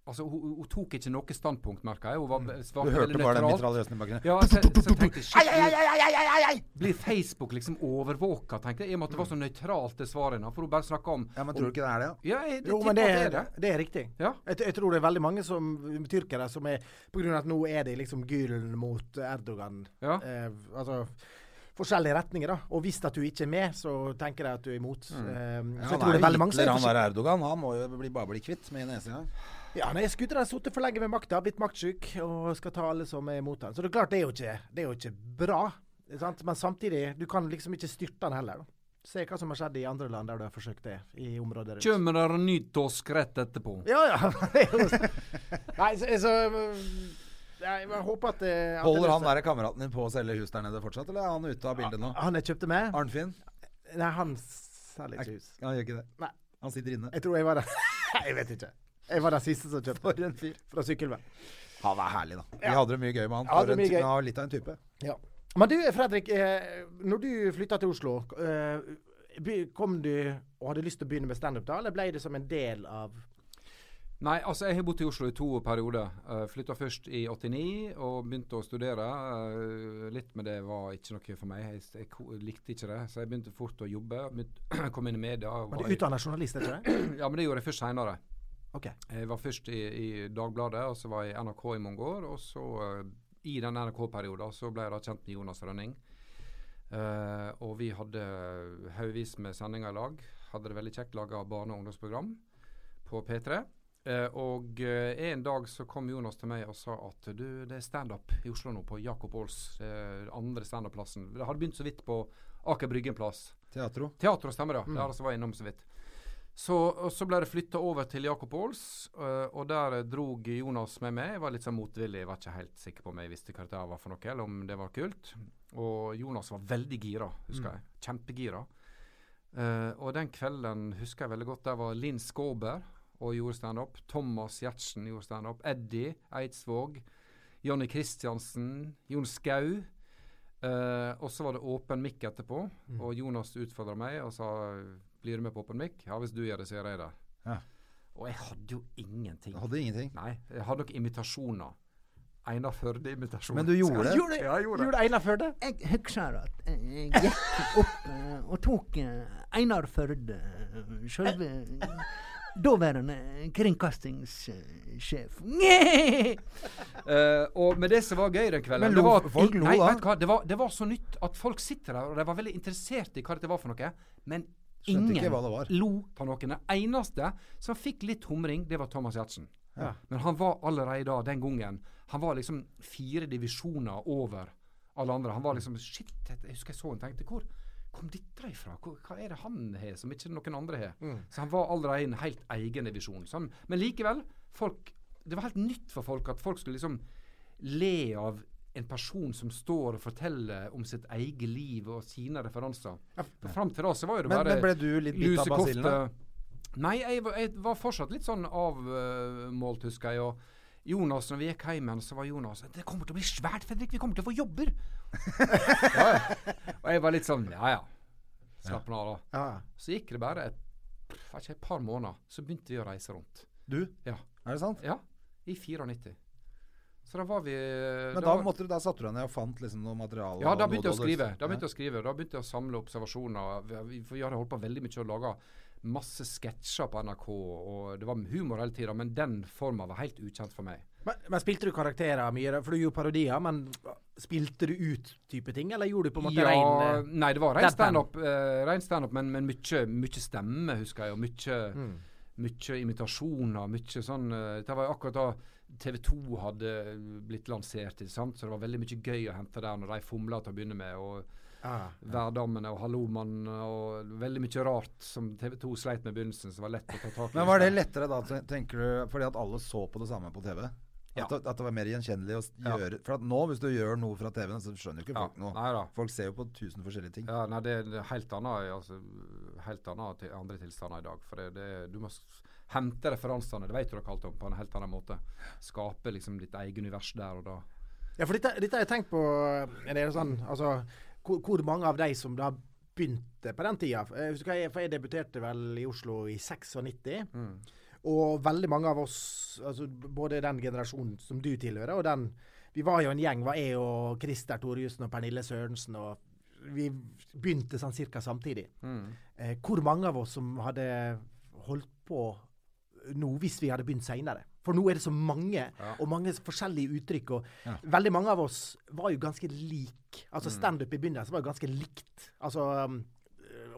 Speaker 3: Altså, hun, hun tok ikke noe standpunkt, merka jeg. Hun var,
Speaker 1: Mm. Du
Speaker 3: svarte
Speaker 1: hørte
Speaker 3: veldig
Speaker 1: bare den
Speaker 3: nøytralt.
Speaker 1: mitraljøsen i bakgrunnen.
Speaker 3: Ja, så, så tenkte jeg shit, Blir Facebook liksom overvåka, tenkte jeg, i og med at det var så nøytralt, det svaret hennes? For hun bare snakka om
Speaker 1: Ja, men tror du ikke det er det, da?
Speaker 3: Ja, jeg, det,
Speaker 2: Jo, men det
Speaker 3: tipper at
Speaker 2: er, det er riktig.
Speaker 3: Ja.
Speaker 2: Jeg, t- jeg tror det er veldig mange som, tyrkere som er På grunn av at nå er det liksom Gylen mot Erdogan.
Speaker 3: Ja.
Speaker 2: Eh, altså forskjellige retninger, da. Og hvis at du ikke er med, så tenker jeg at du er imot. Eh,
Speaker 1: Ja,
Speaker 2: så jeg
Speaker 1: han er
Speaker 2: tror det er
Speaker 1: jo
Speaker 2: veldig mange som
Speaker 1: Hitler,
Speaker 2: er
Speaker 1: han
Speaker 2: forskjell-
Speaker 1: der Erdogan. Han må jo bli, bare bli kvitt med en eneste gang.
Speaker 2: Ja, nei, Skuter har sittet for lenge ved makta, blitt maktsyk og skal ta alle som er imot han. Så det er klart, det er jo ikke, det er jo ikke bra. ikke Sant? Men samtidig, du kan liksom ikke styrte han heller. Da. Se hva som har skjedd i andre land der du har forsøkt det, i området rundt.
Speaker 3: det Kommer der nyttårskrett rett etterpå?
Speaker 2: Ja, ja. det er jo så- Nei, så, så Jeg bare håper at det, at det
Speaker 1: Holder han
Speaker 2: løser-
Speaker 1: der kameraten din på å selge hus der nede fortsatt, eller er han ute av bildet nå?
Speaker 2: Han jeg kjøpte med?
Speaker 1: Arnfinn?
Speaker 2: Nei, han selger ikke hus.
Speaker 1: Han gjør ikke det.
Speaker 2: Nei.
Speaker 1: Han sitter inne.
Speaker 2: Jeg tror jeg var den Jeg vet ikke. Jeg var den siste som kjøpte. For en fyr. Fra sykkelvenn.
Speaker 1: Han er herlig, da. Vi hadde det mye gøy med han.
Speaker 2: Hadde
Speaker 1: For en
Speaker 2: mye
Speaker 1: ty-
Speaker 2: gøy.
Speaker 1: Han var litt av en type.
Speaker 2: Ja. Men du, Fredrik. eh, Når du flytta til Oslo, eh, be- kom du og hadde lyst til å begynne med standup da, eller ble det som en del av
Speaker 3: Nei, altså jeg har bodd i Oslo i to perioder. Uh, Flytta først i 89 og begynte å studere. Eh, litt med det var ikke noe for meg. Jeg, jeg ko- likte ikke det, så jeg begynte fort å jobbe. Begynte, kom inn i media. og
Speaker 2: Men du
Speaker 3: var
Speaker 2: er utdanna journalist, er ikke det?
Speaker 3: i- ja, men det gjorde jeg først seinere.
Speaker 2: OK.
Speaker 3: Jeg var først i, i Dagbladet, og så var jeg i NRK i mange år. Og så, eh, i den NRK-perioden, så ble jeg da kjent med Jonas Rønning. Eh, og vi hadde haugevis med sendinger i lag. Hadde det veldig kjekt, laga barne- og ungdomsprogram på P3. Eh, og eh, en dag så kom Jonas til meg og sa at du, det er standup i Oslo nå, på Jakob Aals. Uh, andre standup-plassen. Det hadde begynt så vidt på Aker Bryggen plass.
Speaker 1: Teatro.
Speaker 3: Teater og stemmer, ja. Det var jeg innom så vidt. Så, og så ble det flytta over til Jakob Aals, øh, og der drog Jonas med meg. Jeg var litt sånn motvillig, jeg var ikke helt sikker på om jeg visste hva det var for noe, eller om det var kult. Og Jonas var veldig gira, husker
Speaker 1: Mm.
Speaker 3: jeg. Kjempegira. Eh, og den kvelden husker jeg veldig godt, der var Linn Skåber og gjorde standup. Thomas Gjertsen gjorde standup. Eddie Eidsvåg. Jonny Kristiansen. Jon Skau. Eh, og så var det åpen mic etterpå,
Speaker 1: Mm.
Speaker 3: og Jonas utfordra meg og sa blir du med på åpen mic? Ja, hvis du gjør det, så gjør jeg det.
Speaker 1: Ja.
Speaker 3: Og jeg hadde jo ingenting.
Speaker 1: Hadde ingenting.
Speaker 3: Nei, jeg hadde nok imitasjoner. Einar Førde-imitasjon.
Speaker 1: Men du gjorde det.
Speaker 2: Gjorde,
Speaker 3: Ja, jeg gjorde det.
Speaker 2: gjorde Einar før det?
Speaker 5: Jeg husker at eh, jeg gikk opp eh, og tok eh, Einar Førde, eh, sjølve daværende kringkastingssjef.
Speaker 3: Eh, og med det som var gøy den kvelden
Speaker 1: Men
Speaker 3: det
Speaker 1: lo-
Speaker 3: var, at
Speaker 1: folk
Speaker 3: i-
Speaker 1: lo
Speaker 3: nei,
Speaker 1: da?
Speaker 3: vet du hva, det var, det var så nytt at folk sitter der, og de var veldig interessert i hva dette var for noe, men
Speaker 1: Skjønte ikke
Speaker 3: ingen
Speaker 1: hva det var.
Speaker 3: lo av noen. Den eneste som fikk litt humring, det var Thomas Giertsen. Men han var allerede da, den gangen Han var liksom fire divisjoner over alle andre. Han var liksom Shit, jeg husker jeg så han tenkte Hvor kom dette ifra? Hvor, hva er det han har som ikke noen andre har? Så han var allerede i en helt egen divisjon. Så han, men likevel, folk Det var helt nytt for folk at folk skulle liksom le av en person som står og forteller om sitt eget liv og sine referanser. For Fram til da så var jo det
Speaker 1: Men-
Speaker 3: bare
Speaker 1: men ble du litt bitt av
Speaker 3: lusekofte.
Speaker 1: basillen
Speaker 3: Nei, jeg, var- jeg var fortsatt litt sånn avmålt, husker jeg. Og Jonas, når vi gikk hjem igjen, så var Jonas Det kommer til å bli svært, Fredrik. Vi kommer til å få jobber. ja, ja. Og jeg var litt sånn Ja ja. Slapp nå av, da.
Speaker 2: Ja.
Speaker 3: Så gikk det bare et, vet ikke, et par måneder, så begynte vi å reise rundt.
Speaker 1: Du,
Speaker 3: Ja.
Speaker 1: er det sant?
Speaker 3: ja. I 94. Så da var vi
Speaker 1: Men da, måtte du, da satte du deg ned og fant liksom noe materiale?
Speaker 3: Ja, da
Speaker 1: og noe
Speaker 3: begynte jeg å
Speaker 1: du hadde-
Speaker 3: skrive. Da begynte jeg å skrive, da begynte jeg å samle observasjoner. Vi- vi- For vi hadde holdt på veldig mye og laga masse sketsjer på NRK, og det var humor hele tida, men den forma var helt ukjent for meg.
Speaker 2: Men, men spilte du karakterer mye? da? For du gjorde parodier, men spilte du ut type ting, eller gjorde du på en måte rein eh,
Speaker 3: nei, det var rein
Speaker 2: deadpan.
Speaker 3: standup, eh, rein standup, men, men mye, mye stemme, husker jeg, og mye mye imitasjoner, mye sånn eh, Dette var jo akkurat da TV 2 hadde blitt lansert, ikke sant? så det var veldig mye gøy å hente der når de fomla til å begynne med. og
Speaker 2: Ah.
Speaker 3: Værdammene og Hallomannen og veldig mye rart som TV 2 sleit med i begynnelsen, som var lett å ta tak i.
Speaker 1: Men var det lettere da, ten- tenker du, fordi at alle så på det samme på TV?
Speaker 3: Ja.
Speaker 1: At, det- at det var mer gjenkjennelig å s-
Speaker 3: Ja.
Speaker 1: gjøre For at nå, hvis du gjør noe fra TV-en, så skjønner jo ikke
Speaker 3: Ja,
Speaker 1: folk noe.
Speaker 3: nei da.
Speaker 1: Folk ser jo på tusen forskjellige ting.
Speaker 3: Ja, nei, det er en helt annet, altså, helt annet til andre tilstander i dag. For det, det, du må s- hente referansene, det vet du dere alt om, på en helt annen måte. Skape liksom ditt eget univers der og da.
Speaker 2: Ja, for dette, dette har jeg tenkt på er det sånn, altså, hvor, hvor mange av de som da begynte på den tida Eh, husker jeg- For jeg debuterte vel i Oslo i 96. Og veldig mange av oss, altså, b- både den generasjonen som du tilhører, og den Vi var jo en gjeng, var jeg og Christer Thorjussen og Pernille Sørensen, og vi begynte sånn cirka samtidig.
Speaker 3: Mm.
Speaker 2: Eh, hvor mange av oss som hadde holdt på nå hvis vi hadde begynt seinere. For nå er det så mange, og mange forskjellige uttrykk. Og veldig mange av oss var jo ganske lik.
Speaker 3: Mm.
Speaker 2: Altså standup i begynnelsen var jo ganske likt. Altså um,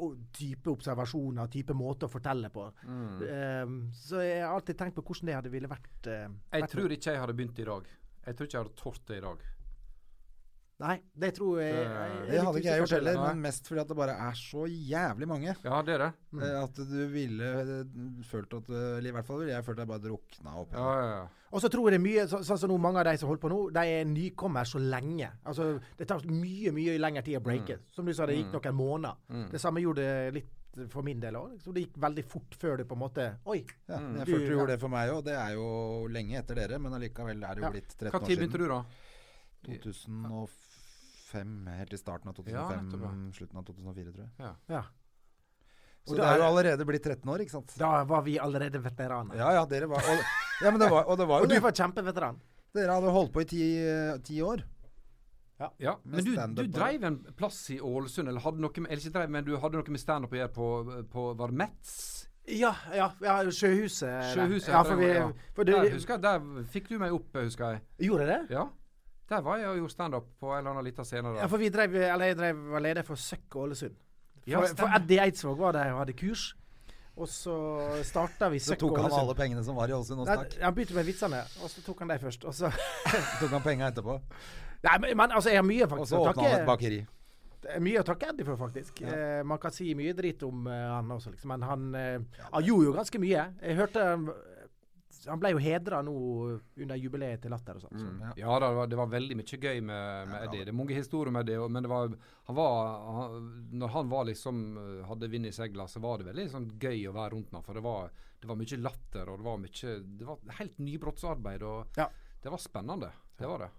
Speaker 2: og type observasjoner, type måte å fortelle på.
Speaker 3: Mm.
Speaker 2: Um, så jeg har alltid tenkt på hvordan det hadde ville vært. eh,
Speaker 3: Jeg
Speaker 2: vært
Speaker 3: tror ikke jeg hadde begynt i dag. Jeg tror ikke jeg hadde tort det i dag.
Speaker 2: Nei, det tror jeg, jeg, jeg er
Speaker 1: Det
Speaker 2: litt
Speaker 1: hadde ikke jeg
Speaker 2: usikker
Speaker 1: gjort
Speaker 2: på det.
Speaker 1: heller, men mest fordi at det bare er så jævlig mange.
Speaker 3: Ja, det er det.
Speaker 1: eh, At du ville eh, følt at eh, Eller i hvert fall ville jeg følt at jeg bare drukna opp.
Speaker 3: Ja, ja, ja.
Speaker 2: Og så tror jeg det er mye, så, sånn som nå, mange av de som holder på nå, de er nykommer så lenge. Altså, det tar mye, mye lengre tid å breake. Som du sa, det gikk noen måneder. Det samme gjorde det litt for min del òg. Det gikk veldig fort før du på en måte Oi!
Speaker 1: Ja, jeg
Speaker 2: Du-
Speaker 1: følte jo det for meg òg. Det er jo lenge etter dere, men allikevel er det jo
Speaker 2: Ja.
Speaker 1: blitt
Speaker 3: Hva
Speaker 1: 13 år
Speaker 3: tid
Speaker 1: siden.
Speaker 3: begynte du, da?
Speaker 1: 2005, helt i starten av
Speaker 3: Ja,
Speaker 1: 2005,
Speaker 3: nettopp,
Speaker 1: slutten av 2004, tror jeg.
Speaker 2: Ja.
Speaker 1: Så det er jo allerede blitt 13 år, ikke sant?
Speaker 2: Da var vi allerede veteraner.
Speaker 1: Ja, ja, dere var Og, ja, men det var, og det var
Speaker 2: Og
Speaker 1: jo
Speaker 2: du
Speaker 1: det.
Speaker 2: var kjempeveteran.
Speaker 1: Dere hadde holdt på i ti, eh, ti år.
Speaker 3: Ja, Men du,
Speaker 1: standup
Speaker 3: du
Speaker 1: og-
Speaker 3: dreiv en plass i Ålesund, eller hadde noe med, eller ikke dreiv, men du hadde noe med standup å gjøre på, på Var det Metz?
Speaker 2: Ja, ja, ja Sjøhuset. Eh, der.
Speaker 3: Sjøhuset?
Speaker 2: Ja,
Speaker 3: heter
Speaker 2: for
Speaker 3: det,
Speaker 2: vi,
Speaker 3: ja.
Speaker 2: for
Speaker 3: der,
Speaker 2: du,
Speaker 3: husker jeg, der fikk du meg opp, husker jeg.
Speaker 2: gjorde det?
Speaker 3: Ja. Der var jeg og gjorde standup på en eller annen liten scene. der.
Speaker 2: Ja, for vi drev, eller jeg drev, var leder for Søkk Ålesund. For,
Speaker 3: Ja,
Speaker 2: for
Speaker 3: stemmer.
Speaker 2: Eddie Eidsvåg var der og hadde kurs. Og så starta vi
Speaker 1: Så
Speaker 2: Søkk
Speaker 1: tok han
Speaker 2: Ålesund.
Speaker 1: alle pengene som var i Ålesund, og
Speaker 2: liksom. Nei,
Speaker 1: stakk.
Speaker 2: han begynte med vitsene, og så tok han de først. Og så
Speaker 1: Så tok han penga etterpå.
Speaker 2: Nei, men, men altså, jeg har mye
Speaker 1: Og
Speaker 2: faktisk
Speaker 1: så
Speaker 2: å
Speaker 1: åpna han et
Speaker 2: takke,
Speaker 1: bakeri.
Speaker 2: mye å takke Eddie for, faktisk. Eh, man kan si mye dritt om eh, han også, liksom. Men han, eh, han gjorde jo ganske mye. Jeg hørte han, eh, han ble jo hedra nå under jubileet til Latter og sånn. så.
Speaker 3: Ja, da, det, var, det var veldig mye gøy med, med Eddie. Det er mange historier om Eddie, og- men det var, han var han, Når han var liksom eh, hadde vind i seila, så var det veldig sånn gøy å være rundt ham. For det var, det var mye latter, og det var mye Det var helt nybrottsarbeid, og
Speaker 2: Ja.
Speaker 3: det var spennende. Det var det.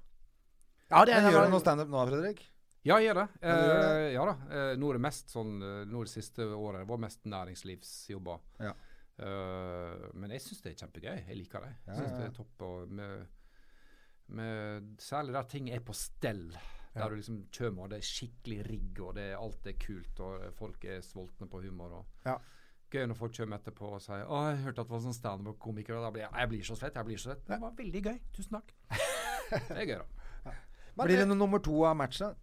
Speaker 2: Ja, det,
Speaker 1: Men
Speaker 2: det
Speaker 1: gjør
Speaker 2: var,
Speaker 1: du noe standup nå, Fredrik?
Speaker 3: Ja, jeg gjør det.
Speaker 1: Ja, du gjør
Speaker 3: Eh, ja da. Eh, nå er det mest sånn eh, Nå er det siste året det var mest næringslivsjobber.
Speaker 1: Ja.
Speaker 3: Eh, men jeg syns det er kjempegøy. Jeg liker det. Jeg
Speaker 1: Ja,
Speaker 3: syns
Speaker 1: ja,
Speaker 3: det
Speaker 1: ja.
Speaker 3: er topp. Og med, med, særlig der ting er på stell. Der du liksom kommer, og det er skikkelig rigg, og det, er- alt er kult, og eh, folk er sultne på humor. Og.
Speaker 2: Ja.
Speaker 3: Gøy når folk kommer etterpå og sier 'Å, jeg hørte at det var sånn standup-komiker', og da blir jeg 'Jeg blir så svett', jeg blir så svett. Det var veldig gøy. Tusen takk. det er gøy, da.
Speaker 2: men,
Speaker 1: Blir det noe nummer to av matchet?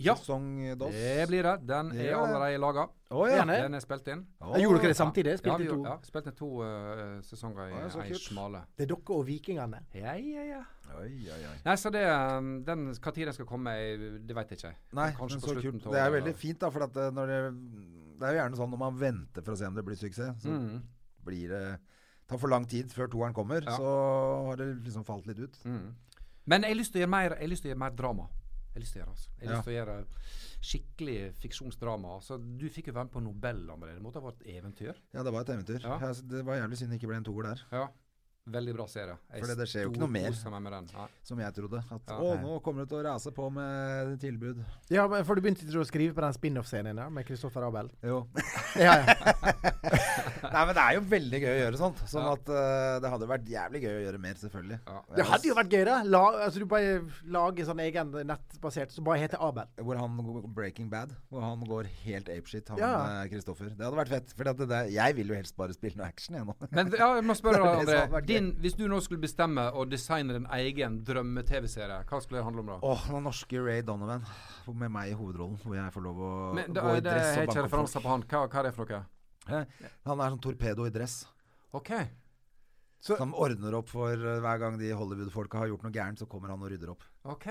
Speaker 3: Ja.
Speaker 1: Sesong DOS?
Speaker 3: Det blir det. Den
Speaker 1: Det
Speaker 3: er
Speaker 1: gjør det.
Speaker 3: allerede laga.
Speaker 1: Å, ja.
Speaker 2: Gjerne.
Speaker 3: Den er spilt inn.
Speaker 1: Å,
Speaker 2: Gjorde dere det samtidig?
Speaker 3: Ja,
Speaker 2: Spilte
Speaker 3: vi
Speaker 2: to?
Speaker 3: gjorde- ja, spilte inn to eh, sesonger i
Speaker 1: Å, ja, så
Speaker 3: ei
Speaker 1: kult.
Speaker 3: smale.
Speaker 2: Det er dere og vikingene.
Speaker 3: Ja, ja, ja.
Speaker 1: Oi, oi, oi.
Speaker 3: Nei, så det um, den, Hva tid den skal komme, eh, det veit jeg ikke.
Speaker 1: Nei,
Speaker 3: Kanskje
Speaker 1: men
Speaker 3: på
Speaker 1: så
Speaker 3: slutten
Speaker 1: kult.
Speaker 3: av
Speaker 1: Det er jo
Speaker 3: året.
Speaker 1: veldig fint, da. For at eh, når det, det er jo gjerne sånn når man venter for å se om det blir suksess, så
Speaker 3: Mm.
Speaker 1: blir det tar for lang tid før toeren kommer.
Speaker 3: Ja.
Speaker 1: Så har det liksom falt litt ut.
Speaker 3: mm. Men jeg har lyst til å gjøre mer, jeg har lyst til å gjøre mer drama. Jeg har lyst til å gjøre, altså. Jeg har
Speaker 1: Ja.
Speaker 3: lyst til å gjøre skikkelig fiksjonsdrama. Altså, du fikk jo være med på Nobel, André. Det måtte ha vært et eventyr.
Speaker 1: Ja, det var et eventyr.
Speaker 3: Ja.
Speaker 1: Jeg- Det var jævlig synd det ikke ble en toer der.
Speaker 3: Ja. Veldig bra serie. Jeg
Speaker 1: Fordi det skjer jo ikke noe mer.
Speaker 3: storkoser meg med den. Nei.
Speaker 1: Som jeg trodde. At
Speaker 3: Ja.
Speaker 1: å, nå kommer det til å rase på med tilbud.
Speaker 2: Ja, men for du begynte ikke å skrive på den spin-off-scenen der med Kristoffer Abel?
Speaker 1: Jo.
Speaker 2: Ja, ja.
Speaker 1: Nei, men det er jo veldig gøy å gjøre sånt. Sånn
Speaker 3: Ja.
Speaker 1: at eh, det hadde vært jævlig gøy å gjøre mer, selvfølgelig.
Speaker 3: Ja.
Speaker 2: Det hadde jo vært gøy, da. La, altså, du bare lager sånn egen nettbasert som bare heter Abel.
Speaker 1: Hvor han går Breaking Bad. Hvor han går helt apeshit, han
Speaker 2: Ja.
Speaker 1: eh, Kristoffer. Det hadde vært fett. For det, det, jeg vil jo helst bare spille noe action, jeg nå.
Speaker 3: Men ja, jeg må spørre
Speaker 1: Det er
Speaker 3: deg,
Speaker 1: det som
Speaker 3: André.
Speaker 1: hadde vært
Speaker 3: Din, hvis du nå skulle bestemme og designe din egen drømme-TV-serie, hva skulle det handle om da?
Speaker 1: Åh, den norske Ray Donovan med meg i hovedrollen, hvor jeg får lov å
Speaker 3: Men,
Speaker 1: gå
Speaker 3: da,
Speaker 1: i
Speaker 3: det
Speaker 1: dress
Speaker 3: er
Speaker 1: og
Speaker 3: ikke
Speaker 1: banke opp
Speaker 3: referanser på han. Hva, hva er det for noe?
Speaker 1: folk. Hæ? Han er sånn torpedo i dress.
Speaker 3: OK.
Speaker 1: Som ordner opp for eh, hver gang de Hollywood-folka har gjort noe gærent, så kommer han og rydder opp.
Speaker 3: ok.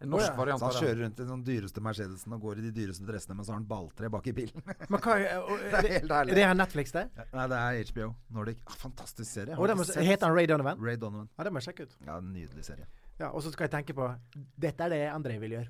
Speaker 3: En norsk variant
Speaker 1: Så han
Speaker 3: av det.
Speaker 1: kjører rundt i den dyreste Mercedesen og går i de dyreste dressene, men så har han balltre bak i bilen.
Speaker 2: Men hva er, og-
Speaker 1: Det er helt
Speaker 2: er
Speaker 1: herlig.
Speaker 2: det her Netflix, det?
Speaker 1: Nei, det er HBO Nordic. Ah, fantastisk serie. Jeg
Speaker 2: Og
Speaker 1: har
Speaker 2: det må,
Speaker 1: ikke sett
Speaker 2: heter han Ray Donovan?
Speaker 1: Ray Donovan.
Speaker 2: Ja, det må jeg sjekke ut.
Speaker 1: Ja, en nydelig serie.
Speaker 2: Ja, og så skal jeg tenke på Dette er det André vil gjøre.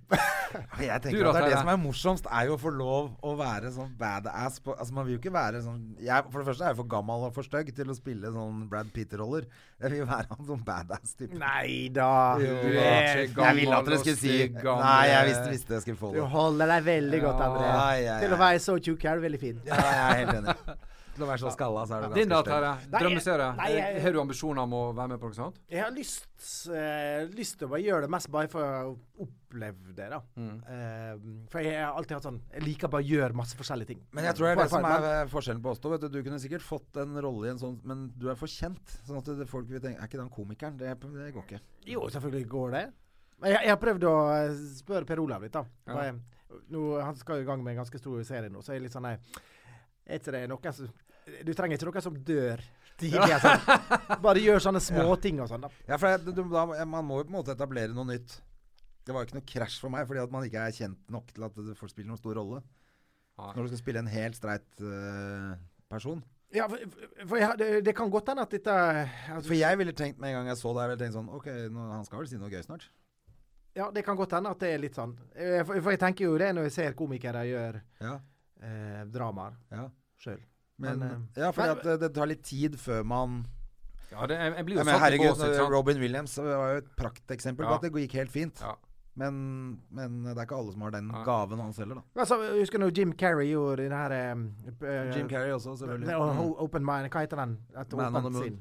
Speaker 1: Jeg tenker at
Speaker 3: Du da,
Speaker 1: det er det
Speaker 3: Terje?
Speaker 1: som er morsomst, er jo å få lov å være sånn badass på Altså, man vil jo ikke være sånn jeg, For det første er jeg for gammel og for stygg til å spille sånn Brad Pitt-roller. Jeg vil jo være han sånn badass-type.
Speaker 2: Nei da.
Speaker 3: Jo,
Speaker 2: Du
Speaker 3: da,
Speaker 2: er-
Speaker 3: sjekk.
Speaker 1: Jeg ville at dere
Speaker 3: gammel og
Speaker 1: skulle si
Speaker 3: stygg, gammel.
Speaker 1: Nei, jeg visste, visste jeg skulle få
Speaker 2: Du
Speaker 1: det.
Speaker 2: holder deg veldig godt, André.
Speaker 1: Ja, ja, ja.
Speaker 2: Til å være så tjukk er du veldig fin.
Speaker 1: Ja, jeg er helt enig. Til å være så skalla, så er du
Speaker 3: Din da,
Speaker 1: ganske stygg.
Speaker 3: Terje.
Speaker 2: Nei,
Speaker 3: Drømmeserie. Eh,
Speaker 2: nei, jeg-
Speaker 3: Har du ambisjoner om å være med på noe sånt?
Speaker 2: Jeg har lyst, eh, lyst til å bare gjøre det mest bare for å oppleve det, da.
Speaker 1: Mm.
Speaker 2: Eh, for jeg har alltid hatt sånn Jeg liker bare å gjøre masse forskjellige ting.
Speaker 1: Men jeg tror det er det
Speaker 2: Bare-
Speaker 1: som
Speaker 2: bare-
Speaker 1: er eh, forskjellen på oss to. Vet du. du kunne sikkert fått en rolle i en sånn, men du er for kjent. Sånn at det, folk vil tenke Er ikke den komikeren? Det, det går ikke.
Speaker 2: Jo, selvfølgelig går det. Men jeg, jeg har prøvd å eh, spørre Per Olav litt, da. Bare, nå, han skal jo i gang med en ganske stor serie nå, så jeg er litt sånn nei, er ikke det noen som Du trenger ikke noen som dør tidlig.
Speaker 1: sånn-
Speaker 2: altså. Bare gjør sånne småting og sånn, da.
Speaker 1: Ja, for det, du, da, man må jo på en måte etablere noe nytt. Det var jo ikke noe krasj for meg, fordi at man ikke er kjent nok til at det får spille noen stor rolle.
Speaker 3: Nei.
Speaker 1: Når du skal spille en helt streit eh, person.
Speaker 2: Ja, for, for jeg, har- det, det kan godt hende at dette
Speaker 1: For
Speaker 2: altså,
Speaker 1: jeg ville tenkt med en gang jeg så deg, jeg ville tenkt sånn Ok, nå, han skal vel si noe gøy snart.
Speaker 2: Ja, det kan godt hende at det er litt sånn. Eh, For, for jeg tenker jo det når jeg ser komikere gjør
Speaker 1: Ja,
Speaker 2: eh, dramaer
Speaker 1: ja.
Speaker 2: sjøl.
Speaker 1: Men,
Speaker 2: Men,
Speaker 3: eh,
Speaker 1: ja, fordi
Speaker 2: nei,
Speaker 1: at det, det tar litt tid før man
Speaker 3: Ja, det, jeg, jeg blir
Speaker 1: ja,
Speaker 3: jo
Speaker 1: men
Speaker 3: satt i
Speaker 1: Herregud,
Speaker 3: bås, ikke sant?
Speaker 1: Robin Williams eh, var jo et prakteksempel på
Speaker 3: Ja.
Speaker 1: at det gikk helt fint.
Speaker 3: Ja.
Speaker 1: Men, men eh, det er ikke alle som har den
Speaker 3: Nei.
Speaker 1: gaven han selger, da.
Speaker 2: Altså, husker du når Jim Carrey gjorde den her eh,
Speaker 1: Jim Carrey også,
Speaker 2: Det
Speaker 3: Mm.
Speaker 2: er
Speaker 1: selvfølgelig. Mm.
Speaker 2: o- Open Mind, hva heter den? Et
Speaker 1: Man on the
Speaker 2: åpent
Speaker 1: Moon.
Speaker 2: sinn.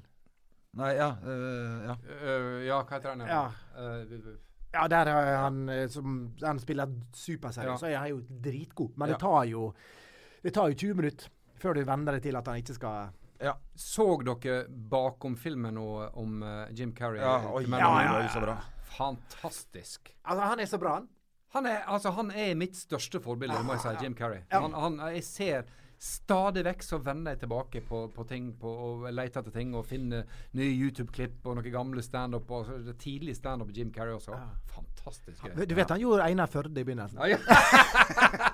Speaker 1: Nei, ja, øh, ja.
Speaker 3: Øh, ja, hva heter den?
Speaker 2: Ja.
Speaker 3: Uh,
Speaker 2: Ja, der er han eh, som Han spiller superserie,
Speaker 3: Ja.
Speaker 2: så er han jo dritgod. Men
Speaker 3: Ja.
Speaker 2: det tar jo Det tar jo 20 minutter før du venner deg til at han ikke skal
Speaker 1: ja.
Speaker 3: så dere bakom filmen nå om eh, Jim Carrey?
Speaker 1: Ja,
Speaker 3: eh,
Speaker 1: oi,
Speaker 3: Commando?
Speaker 1: ja, ja, ja. Så bra.
Speaker 3: Fantastisk.
Speaker 2: Altså, han er så bra, han.
Speaker 3: Han er, altså, han er mitt største forbilde, det må jeg si, Jim Carrey. Han, han, jeg ser stadig vekk så vender jeg tilbake på, på ting på, og leter etter ting og finner nye YouTube-klipp og noen gamle standup. og så- det Tidlig standup med Jim Carrey også. Fantastisk gøy.
Speaker 2: Du vet han gjorde Einar Førde i begynnelsen.
Speaker 3: Ja, ja.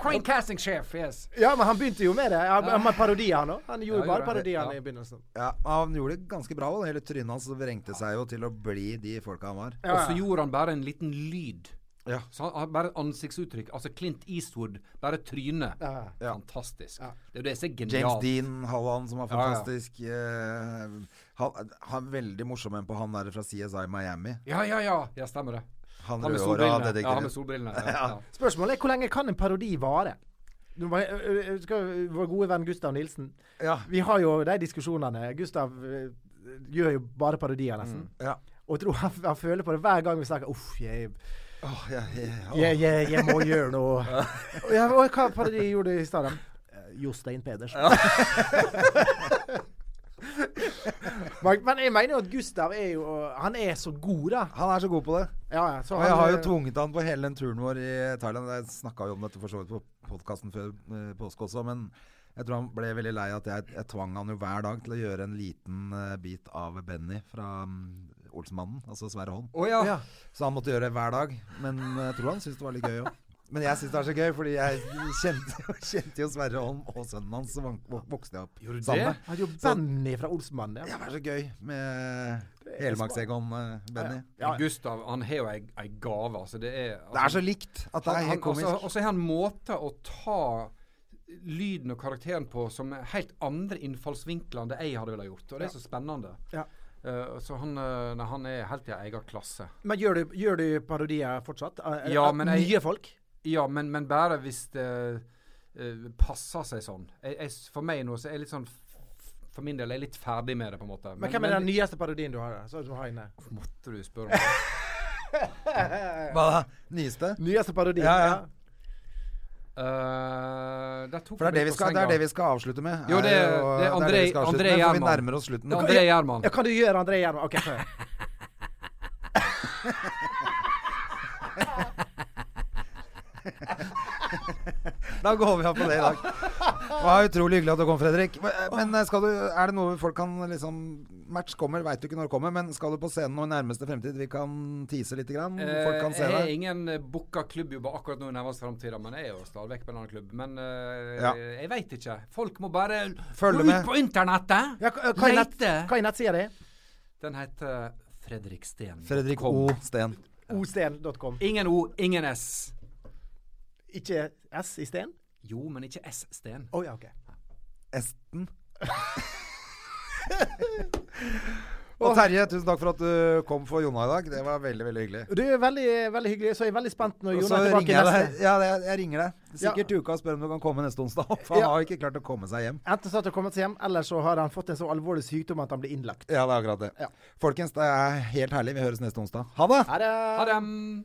Speaker 3: Crane casting chef, yes.
Speaker 2: Ja, men han begynte jo med det. Han, han med parodier, han òg. Han gjorde
Speaker 3: Ja, gjorde
Speaker 2: bare
Speaker 3: han.
Speaker 2: parodier han
Speaker 3: Ja.
Speaker 2: i begynnelsen.
Speaker 1: Ja, han gjorde det ganske bra. og Hele trynet hans vrengte seg jo til å bli de folka han var.
Speaker 2: Ja,
Speaker 3: Og så
Speaker 2: ja.
Speaker 3: gjorde han bare en liten lyd.
Speaker 1: Ja.
Speaker 3: Så han, han bare ansiktsuttrykk. Altså Clint Eastwood, bare trynet.
Speaker 2: Ja.
Speaker 3: Fantastisk. Det er jo det som er
Speaker 1: James
Speaker 3: genialt.
Speaker 1: Dean Halland, som var
Speaker 3: ja.
Speaker 1: fantastisk. eh, han, han er veldig morsom en på han der fra CSI Miami.
Speaker 3: Ja, ja, ja. Ja, stemmer det.
Speaker 1: Han
Speaker 3: Han med
Speaker 1: rødhåra
Speaker 3: solbrillene. Ja, han med
Speaker 1: detektiven.
Speaker 3: solbrillene. Ja, ja.
Speaker 2: Spørsmålet er hvor lenge kan en parodi vare? Du må, ø- ø- skal, vår gode venn Gustav Nilsen.
Speaker 1: Ja,
Speaker 2: Vi har jo de diskusjonene. Gustav ø, gjør jo bare parodier, nesten.
Speaker 3: Mm,
Speaker 1: ja.
Speaker 2: Og tror han, han føler på det hver gang vi snakker Uff, jeg,
Speaker 1: Åh, ja, ja, ja.
Speaker 2: jeg, jeg, jeg må gjøre noe. Og jeg, og hva parodi gjorde du i stedet? Eh, Jostein Pedersen. Men men jeg mener jo at Gustav er jo Han er så god, da.
Speaker 1: Han er så god på det.
Speaker 2: Ja, ja, så
Speaker 1: Og jeg har jo
Speaker 2: eh,
Speaker 1: tvunget han på hele den turen vår i Thailand. Jeg snakka jo om dette for så vidt på podkasten før eh, påske også, men jeg tror han ble veldig lei at jeg, jeg tvang han jo hver dag til å gjøre en liten eh, bit av Benny fra mm, Olsenmannen, altså Sverre Holm.
Speaker 3: Å ja.
Speaker 2: Ja.
Speaker 1: Så han måtte gjøre det hver dag. Men eh, jeg tror han syntes det var litt gøy òg. Men jeg syns det er så gøy, fordi jeg kjente, kjente jo Sverre Holm og sønnen hans, så vok- vok- vokste jeg opp
Speaker 3: Gjorde du
Speaker 1: sammen.
Speaker 3: det?
Speaker 2: Han er jo Benny fra Olsenmannen.
Speaker 1: Ja, det er så gøy med eh, Helmarks-Egon-Benny.
Speaker 3: Gustav han har jo ei, ei gave. Altså, det er altså,
Speaker 1: Det er så likt at det er
Speaker 3: han, han, altså,
Speaker 1: helt komisk.
Speaker 3: også- Og så har han måter å ta lyden og karakteren på som er helt andre innfallsvinkler enn det jeg hadde villet gjort. Og det er så spennende.
Speaker 2: Ja.
Speaker 3: Eh, så han, eh, nei, han er helt i ei egen klasse.
Speaker 2: Men gjør du, gjør du parodier fortsatt? Eh,
Speaker 3: Ja,
Speaker 2: av
Speaker 3: men jeg-
Speaker 2: nye folk?
Speaker 3: Ja, men, men bare hvis det eh, passer seg sånn. Jeg, jeg, s- for meg nå så er jeg litt sånn f- For min del er jeg litt ferdig med det, på en måte.
Speaker 2: Men hvem er den nyeste parodien du har? da? Så, du har inne?
Speaker 3: Måtte du spørre om det?
Speaker 1: Hva da? Nyeste?
Speaker 2: Nyeste parodi?
Speaker 1: Ja, ja.
Speaker 3: Eh, der tok
Speaker 1: For det er det, vi
Speaker 3: du meg på
Speaker 1: skal, det er
Speaker 3: senga.
Speaker 1: det vi skal avslutte med.
Speaker 3: Jo, det er-
Speaker 1: jo-
Speaker 3: det er André-
Speaker 1: vi skal avslutte
Speaker 3: André
Speaker 1: med, for Vi
Speaker 3: Gjerman.
Speaker 1: nærmer oss slutten.
Speaker 3: André Gjerman.
Speaker 2: Ja, kan du gjøre André Gjerman? OK, få høre.
Speaker 1: Da går vi av på det i dag. Det var utrolig hyggelig at du kom, Fredrik. Men eh, skal du, er det noe folk kan liksom Match kommer, veit du ikke når det kommer, men skal du på scenen nå i nærmeste fremtid? Vi kan tease litt. Grann.
Speaker 2: Eh,
Speaker 1: Folk kan se
Speaker 3: jeg har
Speaker 1: deg.
Speaker 3: ingen eh, booka klubbjobber akkurat nå i nærmeste framtid, men jeg er jo stadig vekk på en annen klubb. Men eh,
Speaker 1: Ja.
Speaker 3: jeg veit ikke. Folk må bare
Speaker 1: Følge
Speaker 3: gå
Speaker 1: med.
Speaker 3: ut på internettet!
Speaker 2: Ja, hva- hva er nett-
Speaker 3: Leite.
Speaker 2: hva er nettsida di?
Speaker 3: Den heter Fredriksten.
Speaker 1: Fredrik O. Steen.
Speaker 2: Osten.com.
Speaker 3: Ingen O, ingen S.
Speaker 2: Ikke S i Sten?
Speaker 3: Jo, men ikke S-Sten.
Speaker 2: Å ja, OK.
Speaker 1: Esten. Og Terje, tusen takk for at du kom for Jonna i dag. Det var veldig, veldig hyggelig.
Speaker 2: Du er veldig, veldig hyggelig, så jeg er veldig spent når
Speaker 1: Og
Speaker 2: Jon
Speaker 1: så
Speaker 2: er tilbake
Speaker 1: ringer jeg
Speaker 2: neste.
Speaker 1: deg. Ja, jeg, jeg ringer deg.
Speaker 2: Ja.
Speaker 1: Sikkert til uka og spør om du kan komme neste onsdag. For han
Speaker 2: Ja.
Speaker 1: har jo ikke klart å komme seg hjem.
Speaker 2: Enten så har han kommet seg hjem, eller så har han fått en så alvorlig sykdom at han blir innlagt.
Speaker 1: Ja, det er akkurat det.
Speaker 2: Ja.
Speaker 1: Folkens, det er helt herlig. Vi høres neste onsdag. Ha det!
Speaker 2: Ha det!
Speaker 3: Ha det!